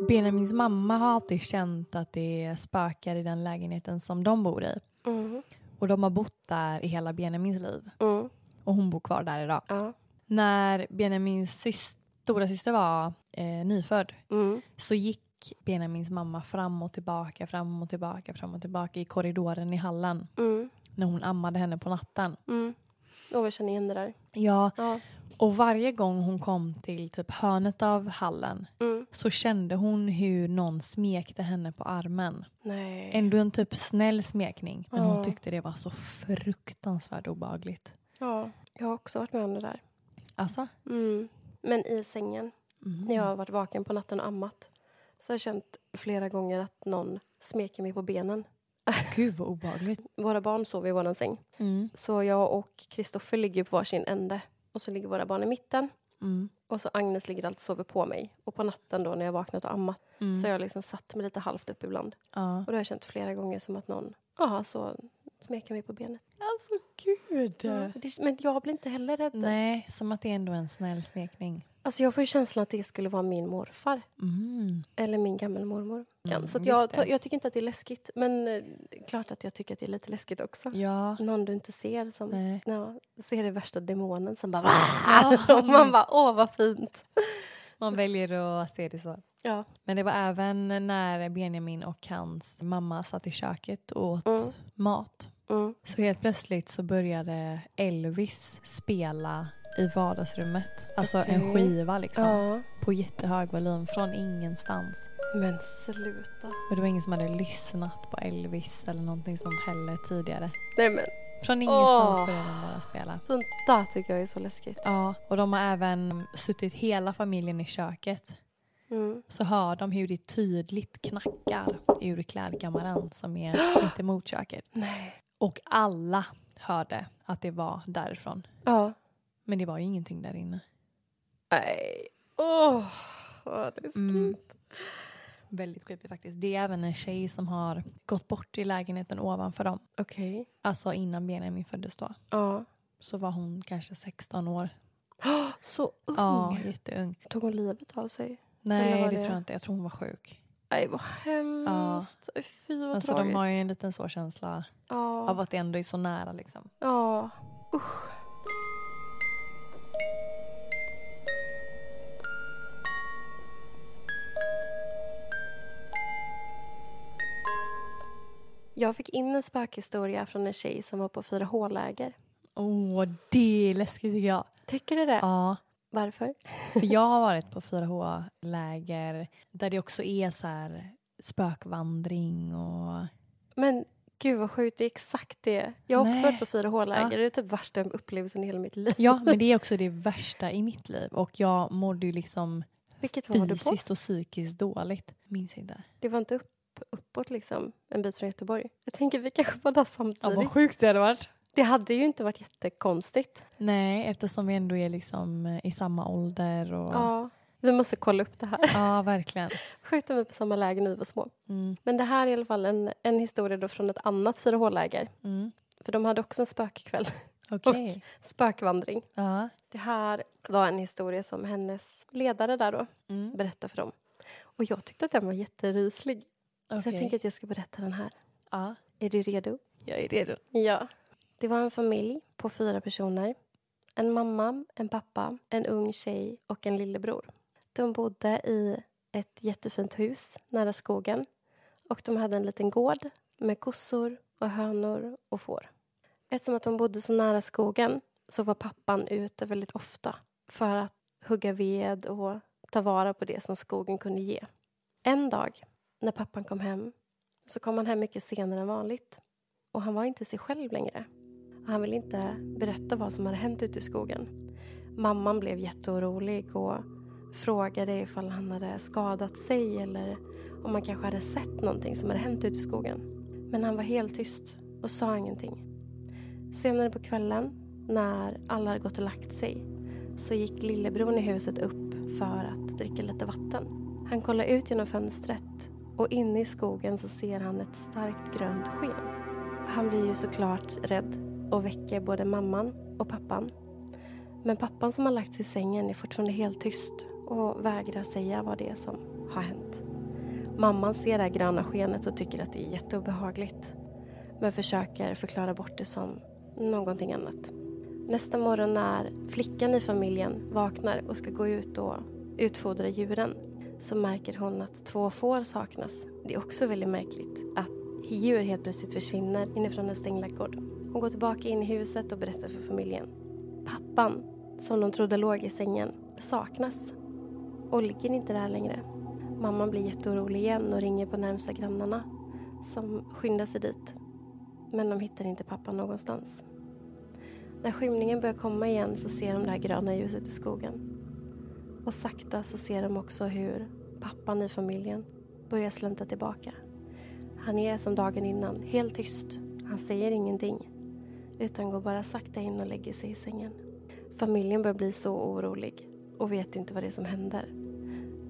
Benjamins mamma har alltid känt att det är spökar i den lägenheten som de bor i.
Mm.
Och de har bott där i hela Benjamins liv.
Mm.
Och hon bor kvar där idag.
Ja.
När Benjamins sys- stora syster var eh, nyfödd
Mm.
så gick Benjamins mamma fram och tillbaka, fram och tillbaka, fram och tillbaka i korridoren i hallen
Mm.
när hon ammade henne på natten.
Mm. Åh, jag känner igen det där.
Ja,
Ja.
och varje gång hon kom till typ hörnet av hallen
Mm.
så kände hon hur någon smekte henne på armen.
Nej.
Ändå en typ snäll smekning, men
Ja.
hon tyckte det var så fruktansvärt obehagligt.
Ja, jag har också varit med om det där.
Alltså?
Mm. Men i sängen,
Mm.
när jag har varit vaken på natten och ammat så har jag känt flera gånger att någon smeker mig på benen.
Gud vad obehagligt.
Våra barn sover i vår säng,
Mm.
så jag och Kristoffer ligger på varsin ände och så ligger våra barn i mitten.
Mm.
Och så Agnes ligger alltid och sover på mig. Och på natten då när jag vaknat och ammat
Mm.
så har jag liksom satt mig lite halvt upp ibland.
ja.
Och då har jag känt flera gånger som att någon ja, så smekar mig på benet.
Alltså gud.
Ja, det, men jag blir inte heller rädd.
Nej, som att det är ändå en snäll smekning.
Alltså jag får ju känslan att det skulle vara min morfar
Mm.
eller min gammelmormor.
Mm,
så att
just
jag,
det.
jag tycker inte att det är läskigt. Men eh, klart att jag tycker att det är lite läskigt också.
Ja.
Någon du inte ser som
Nej.
ja, ser den värsta demonen som bara [LAUGHS] och man bara åh vad fint.
Man väljer att se det så.
Ja.
Men det var även när Benjamin och hans mamma satt i köket och åt
Mm.
mat.
Mm.
Så helt plötsligt så började Elvis spela i vardagsrummet. Alltså en
Okej.
skiva liksom.
ja.
På jättehög volym från ingenstans.
Men sluta.
Och det var ingen som hade lyssnat på Elvis eller någonting sånt heller tidigare.
Nej men
Från ingenstans
Åh.
började de bara spela.
Sånt där tycker jag är så läskigt.
Ja, och de har även suttit hela familjen i köket.
Mm.
Så hör de hur det tydligt knackar ur klädkammaren som [GASPS] är mitt emot köket.
Nej.
Och alla hörde att det var därifrån.
Ja.
Men det var ju ingenting där inne.
Nej. Åh, vad läskigt.
Mm. Väldigt creepy faktiskt. Det är även en tjej som har gått bort i lägenheten ovanför dem.
Okej.
Alltså innan Benjamin föddes då.
Ja.
Så var hon kanske 16 år.
Så ung.
Ja, jätteung.
Tog hon livet av sig? Eller
Nej,
var
det
det-
tror jag inte. Jag tror hon var sjuk.
Nej, vad hemskt. Oj, Fy, vad
Alltså, de
tragiskt.
har ju en liten så känsla
Ja.
av att det ändå är så nära. Liksom.
Ja, usch. Jag fick in en spökhistoria från en tjej som var på 4H-läger.
Åh, det är läskigt tycker jag.
Tycker du det?
Ja,
Varför?
för jag har varit på 4H-läger där det också är så här spökvandring och...
Men gud vad sjukt, det är exakt det. Jag har
Nej.
också varit på 4H-läger.
Ja.
Det är typ värsta upplevelsen i hela mitt liv.
Ja, men det är också det värsta i mitt liv och jag mådde ju liksom
[LAUGHS] Vilket var du på?
fysiskt och psykiskt dåligt. Minns inte.
Det var inte upp, uppåt liksom, en bit från Göteborg. Jag tänker vi kanske var där samtidigt.
sjukt det hade varit.
Det hade ju inte varit jättekonstigt.
Nej, eftersom vi ändå är liksom eh, i samma ålder. Och... Ja.
Ja, vi måste kolla upp det här. [LAUGHS]
verkligen.
Sjukt om vi är på samma läger när vi var små.
Mm,
Men det här är i alla fall en, en historia då från ett annat 4H-läger.
mm.
För de hade också en spökkväll, [LAUGHS]
Okej.
spökvandring.
Ja.
Det här var en historia som hennes ledare där då
Mm.
berättade för dem. Och jag tyckte att den var jätteryslig. Så jag
okej.
tänker att jag ska berätta den här.
ja.
Är du redo?
Jag är redo.
Ja. Det var en familj på fyra personer. En mamma, en pappa, en ung tjej och en lillebror. De bodde i ett jättefint hus nära skogen och de hade en liten gård med kossor och hönor och får. Eftersom att de bodde så nära skogen så var pappan ute väldigt ofta för att hugga ved och ta vara på det som skogen kunde ge. En dag när pappan kom hem så kom han hem mycket senare än vanligt och han var inte sig själv längre. Och han ville inte berätta vad som hade hänt ute i skogen. Mamman blev jätteorolig och frågade ifall han hade skadat sig eller om man kanske hade sett någonting som hade hänt ute i skogen. Men han var helt tyst och sa ingenting. Senare på kvällen, när alla hade gått och lagt sig, så gick lillebror i huset upp för att dricka lite vatten. Han kollar ut genom fönstret och inne i skogen så ser han ett starkt grönt sken. Han blir ju såklart rädd och väcker både mamman och pappan. Men pappan som har lagt sig i sängen är fortfarande helt tyst och vägrar säga vad det är som har hänt. Mamman ser det här gröna skenet och tycker att det är jätteobehagligt men försöker förklara bort det som någonting annat. Nästa morgon när flickan i familjen vaknar och ska gå ut och utfodra djuren så märker hon att två får saknas. Det är också väldigt märkligt att djur helt plötsligt försvinner inifrån en stängd gård. Hon går tillbaka in i huset och berättar för familjen. Pappan, som de trodde låg i sängen, saknas och ligger inte där längre. Mamman blir jätteorolig igen och ringer på närmsta grannarna som skyndar sig dit. Men de hittar inte pappan någonstans. När skymningen börjar komma igen så ser de det här gröna ljuset i skogen. Och sakta så ser de också hur pappan i familjen börjar slunta tillbaka. Han är som dagen innan, helt tyst. Han säger ingenting, utan går bara sakta in och lägger sig i sängen. Familjen börjar bli så orolig och vet inte vad det är som händer.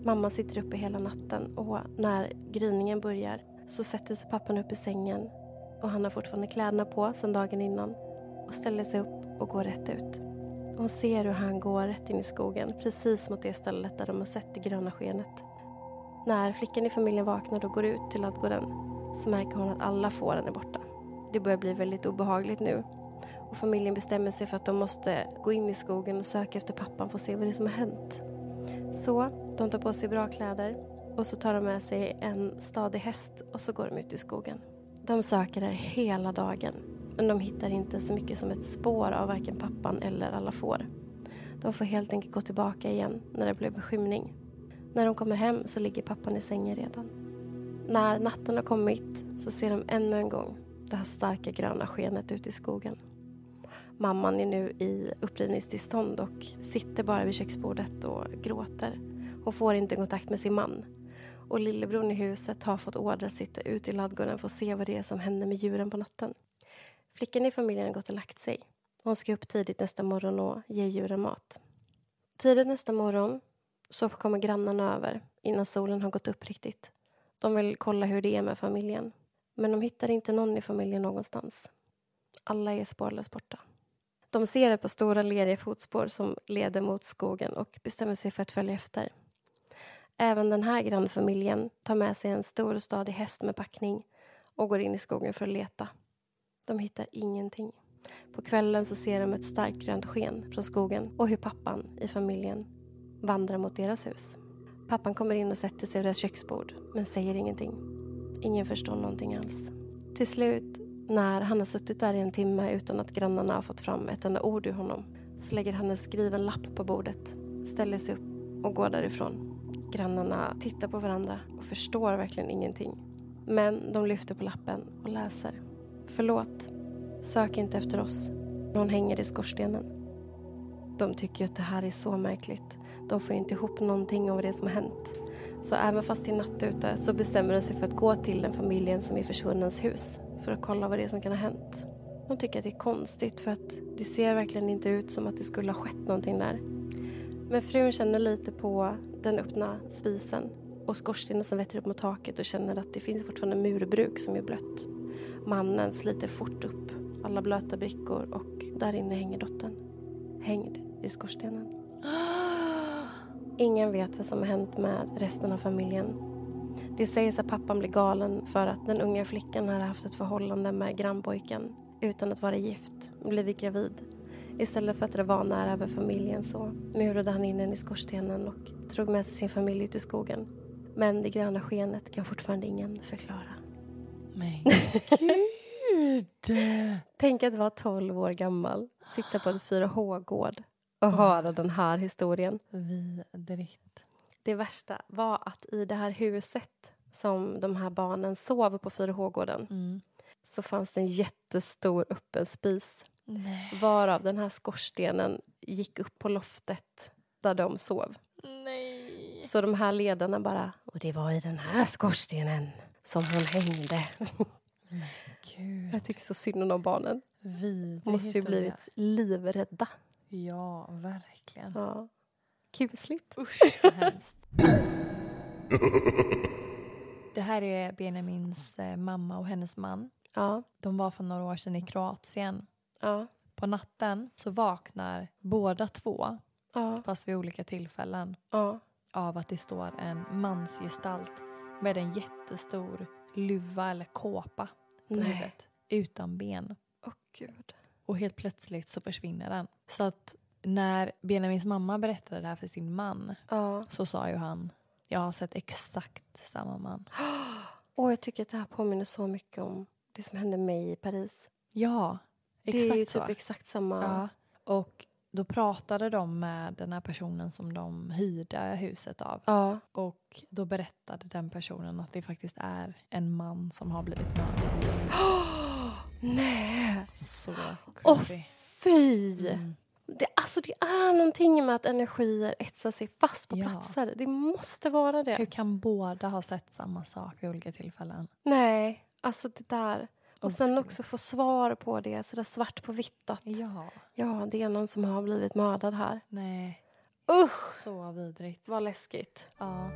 Mamma sitter uppe hela natten och när gryningen börjar så sätter sig pappan upp i sängen och han har fortfarande kläderna på sedan dagen innan och ställer sig upp och går rätt ut. Hon ser hur han går rätt in i skogen precis mot det stället där de har sett det gröna skenet. När flickan i familjen vaknar och går ut till ladugården så märker hon att alla fåren är borta. Det börjar bli väldigt obehagligt nu och familjen bestämmer sig för att de måste gå in i skogen och söka efter pappan för att se vad det är som har hänt. Så de tar på sig bra kläder och så tar de med sig en stadig häst och så går de ut i skogen. De söker där hela dagen men de hittar inte så mycket som ett spår av varken pappan eller alla får. De får helt enkelt gå tillbaka igen när det blir beskymning. När de kommer hem så ligger pappan i sängen redan. När natten har kommit så ser de ännu en gång det här starka gröna skenet ute i skogen. Mamman är nu i upprivningstillstånd och sitter bara vid köksbordet och gråter. Hon får inte kontakt med sin man. Och lillebror i huset har fått order att sitta ute i ladugården för att se vad det är som händer med djuren på natten. Flickan i familjen har gått och lagt sig. Hon ska upp tidigt nästa morgon och ge djuren mat. Tidigt nästa morgon så kommer grannarna över innan solen har gått upp riktigt. De vill kolla hur det är med familjen. Men de hittar inte någon i familjen någonstans. Alla är spårlöst borta. De ser ett par stora leriga fotspår som leder mot skogen och bestämmer sig för att följa efter. Även den här grannfamiljen tar med sig en stor och stadig häst med packning och går in i skogen för att leta. De hittar ingenting. På kvällen så ser de ett starkt grönt sken från skogen och hur pappan i familjen vandrar mot deras hus. Pappan kommer in och sätter sig vid deras köksbord men säger ingenting. Ingen förstår någonting alls. Till slut, när han har suttit där i en timme utan att grannarna har fått fram ett enda ord ur honom så lägger han en skriven lapp på bordet, ställer sig upp och går därifrån. Grannarna tittar på varandra och förstår verkligen ingenting. Men de lyfter på lappen och läser. Förlåt, sök inte efter oss. Någon hänger i skorstenen. De tycker ju att det här är så märkligt. De får ju inte ihop någonting av det som har hänt. Så även fast det är natt ute så bestämmer de sig för att gå till den familjen som är försvunnens hus för att kolla vad det är som kan ha hänt. De tycker att det är konstigt för att det ser verkligen inte ut som att det skulle ha skett någonting där. Men frun känner lite på den öppna spisen och skorstenen som vetter upp mot taket och känner att det finns fortfarande murbruk som är blött. Mannen sliter fort upp alla blöta brickor och där inne hänger dottern. Hängd i skorstenen. Ingen vet vad som har hänt med resten av familjen. Det sägs att pappan blir galen för att den unga flickan hade haft ett förhållande med grannpojken utan att vara gift, blivit gravid. Istället för att dra vanar över familjen så murade han in den i skorstenen och drog med sig sin familj ut i skogen. Men det gröna skenet kan fortfarande ingen förklara. [LAUGHS]
Men gud!
Tänk att vara 12 år gammal, sitta på en 4H-gård och höra den här historien.
Vidrigt.
Det värsta var att i det här huset som de här barnen sov på 4H-gården
Mm.
så fanns det en jättestor öppen spis
Nej.
varav den här skorstenen gick upp på loftet där de sov.
Nej.
Så de här ledarna bara... Och det var i den här skorstenen som hon hängde.
Gud.
Jag tycker så synd om de barnen.
Vidrig
De måste ju
historia.
blivit livrädda.
Ja, verkligen.
Ja. Kusligt.
Usch, vad hemskt. Det här är Benjamins eh, mamma och hennes man.
Ja.
De var för några år sedan i Kroatien.
Ja.
På natten så vaknar båda två,
Ja.
fast vid olika tillfällen,
Ja.
av att det står en mansgestalt med en jättestor luva eller kåpa på
Nej.
huvudet, utan ben.
Åh, gud.
Och helt plötsligt så försvinner den. Så att när Benjamins mamma berättade det här för sin man
Ja.
så sa ju han jag har sett exakt samma man.
Och jag tycker att det här påminner så mycket om det som hände mig i Paris.
Ja,
det är ju
exakt så.
typ exakt samma...
ja. Och då pratade de med den här personen som de hyrde huset av.
Ja.
Och då berättade den personen att det faktiskt är en man som har blivit mördad.
[GASPS] Nej!
Så
Åh,
creepy.
fy!
Mm.
Det, alltså det är någonting med att energier etsar sig fast på
Ja.
platser. Det måste vara det.
Hur kan båda ha sett samma sak vid olika tillfällen?
Nej, alltså det där. Och sen
Otroligt.
också få svar på det, sådär svart på vitt att ja.
Ja.
det är någon som har blivit mördad här.
Nej. Usch! Så vidrigt.
Vad läskigt.
Ja.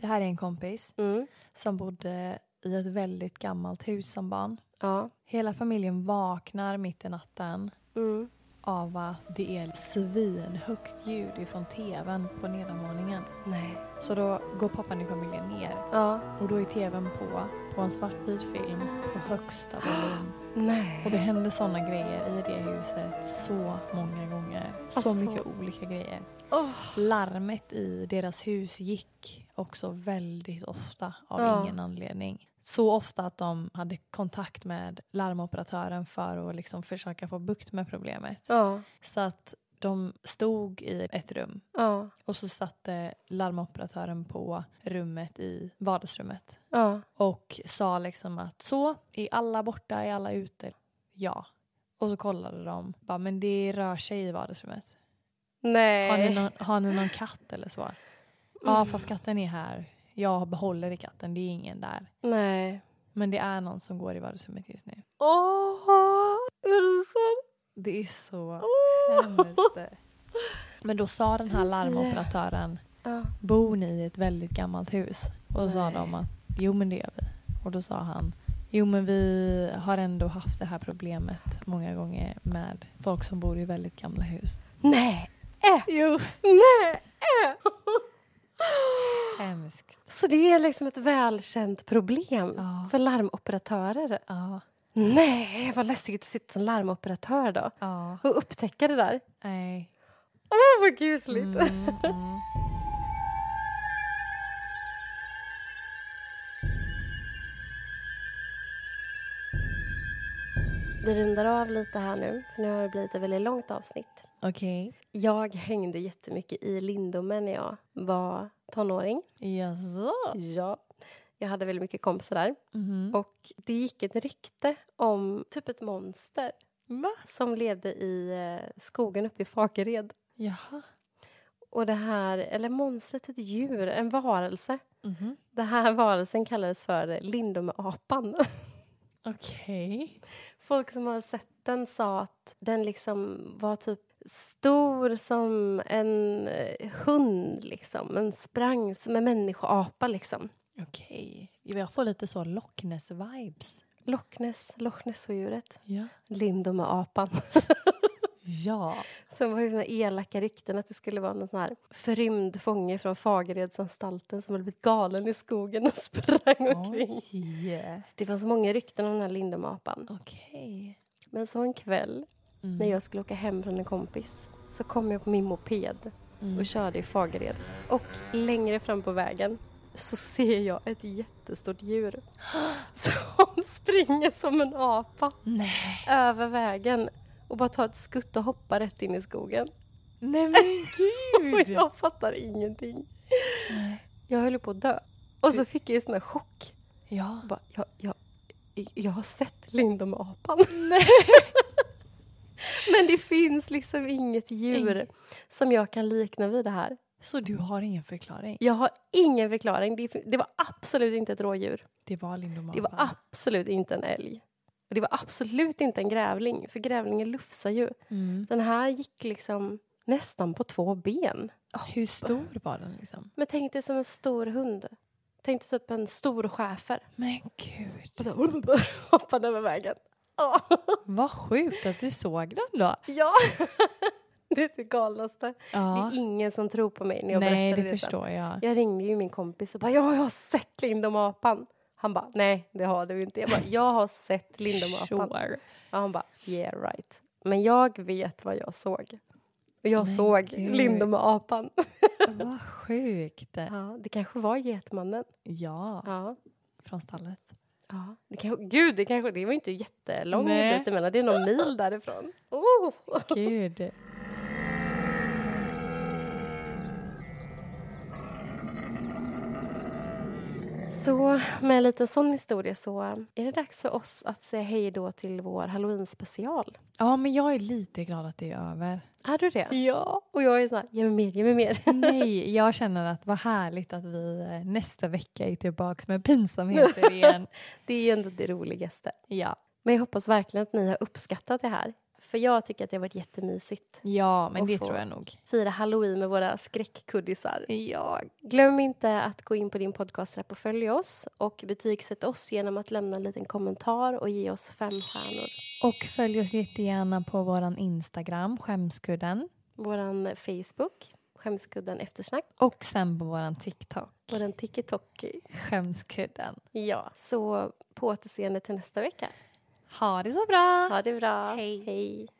Det här är en kompis
Mm.
som bodde i ett väldigt gammalt hus som barn.
Ja.
Hela familjen vaknar mitt i natten
Mm.
av att det är svinhögt ljud ifrån tvn på nedanvåningen.
Nej.
Så då går pappan i familjen ner
Ja.
och då är tvn på, på en svartvit film på högsta volym.
Nej.
Och det hände såna grejer i det huset så många gånger. Så
Alltså.
mycket olika grejer.
Åh.
Larmet i deras hus gick också väldigt ofta av
Ja.
ingen anledning. Så ofta att de hade kontakt med larmoperatören för att liksom försöka få bukt med problemet.
Ja.
Så att de stod i ett rum
Ja.
och så satte larmoperatören på rummet i vardagsrummet.
Ja.
Och sa liksom att så, är alla borta, är alla ute? Ja. Och så kollade de, bara, men det rör sig i vardagsrummet.
Nej.
Har ni, någon, har ni någon katt eller så? Ja, fast katten är här. Jag behåller i katten, det är ingen där.
Nej.
Men det är någon som går i vardagsrummet just nu.
Åh! Är du sån?
Det är så [LAUGHS]
Åh.
hemskt. Men då sa den här larmoperatören,
Ja.
bor ni i ett väldigt gammalt hus? Och då sa
Nej.
de att jo men det gör vi. Och då sa han, Jo men vi har ändå haft det här problemet många gånger med folk som bor i väldigt gamla hus.
Nej!
Jo.
Nej!
Hemskt.
[GASPS] Så det är liksom ett välkänt problem
Ja.
för larmoperatörer.
Ja.
Nej, vad läskigt att sitta som larmoperatör då
Ja.
och upptäcka det där.
Nej.
Åh, vad kusligt!
Mm, mm.
[LAUGHS] Vi rundar av lite här nu, för nu har det blivit ett väldigt långt avsnitt.
Okej.
Jag hängde jättemycket i Lindomen när jag var tonåring.
Jaså?
Ja. Jag hade väldigt mycket kompisar där.
Mhm.
Och det gick ett rykte om typ ett monster
Va?
som levde i eh, skogen uppe i Fagered.
Jaha.
Och det här, eller monstret, ett djur, en varelse.
Mhm.
Den här [LAUGHS] varelsen kallades för Lindomeapan. [LAUGHS]
Okej.
Folk som har sett den sa att den liksom var typ stor som en eh, hund, liksom. En sprang som en människoapa, liksom.
Okej. Jag får lite så Loch Ness-vibes.
Loch Ness, Loch Ness-odjuret.
Ja.
Lindomeapan.
Ja.
Sen var ju den här elaka rykten att det skulle vara någon sån här förrymd fånge från Fageredsanstalten som hade blivit galen i skogen och [LAUGHS] sprang omkring.
Oj.
Så Det fanns många rykten om den här lindomapan.
Okej.
Men så en kväll
Mm.
när jag skulle åka hem från en kompis så kom jag på min moped
Mm.
och körde i Fagered. Och längre fram på vägen så ser jag ett jättestort djur [GASPS] som [LAUGHS] springer som en apa
Nej.
över vägen och bara tar ett skutt och hoppar rätt in i skogen.
Nej men [LAUGHS]
Och
gud!
jag fattar ingenting. Jag höll på att dö. Och så fick jag ju sån här chock.
Ja.
Jag, bara, jag, jag, jag har sett Lindomapan. [LAUGHS] Men det finns liksom inget djur
Ingen.
som jag kan likna vid det här.
Så du har ingen förklaring?
Jag har ingen förklaring. Det, det var absolut inte ett rådjur.
Det var Lindom
Det var absolut inte en älg. Och det var absolut inte en grävling, för grävlingen lufsar ju.
mm.
Den här gick liksom nästan på två ben.
Hur stor var den liksom?
Men tänk dig som en stor hund. Tänk dig typ en stor schäfer.
Men gud.
Och så [LAUGHS] hoppade över vägen. Åh,
Vad sjukt att du såg den då.
ja! [LAUGHS] Det är det galnaste.
Ja.
Det är ingen som tror på mig när jag
Nej, det,
berättar det, sen.
förstår jag.
Jag ringde ju min kompis och bara ja, jag har sett Lindomapan. Han bara nej, det har du inte. Jag bara jag har sett Lindomapan.
Sure.
Och han bara yeah right. Men jag vet vad jag såg. Och jag
Men
såg
gud.
Lindomapan.
Vad sjukt.
Ja, det kanske var Getmannen.
Ja,
Ja.
från stallet.
Ja, det kanske, gud, det, kanske, det var inte jättelång
Nej.
bit emellan. Det är någon mil därifrån. Oh.
Gud.
Så med en liten sån historia så är det dags för oss att säga hej då till vår halloween-special.
Ja, men jag är lite glad att det är över.
Är du det?
Ja.
Och jag är så här, ge mig mer, ge mig mer.
Nej, jag känner att vad härligt att vi eh, nästa vecka är tillbaks med [LAUGHS] pinsamheter igen.
[LAUGHS] Det är ju ändå det roligaste.
Ja,
Men jag hoppas verkligen att ni har uppskattat det här. För jag tycker att det har varit jättemysigt.
ja men
Och
det
få-
tror jag nog.
Fira halloween med våra skräckkuddisar.
Ja,
Glöm inte att gå in på din podcastrapp och följa oss och betygsätt oss genom att lämna en liten kommentar och ge oss fem stjärnor.
Och följ oss jättegärna på vår Instagram, Skämskudden.
Vår Facebook, Skämskudden Eftersnack,
Och sen på vår TikTok,
vår TikTok.
Skämskudden.
Ja, så på återseende till nästa vecka.
Ha det så bra!
Ha det bra.
Hej.
Hej.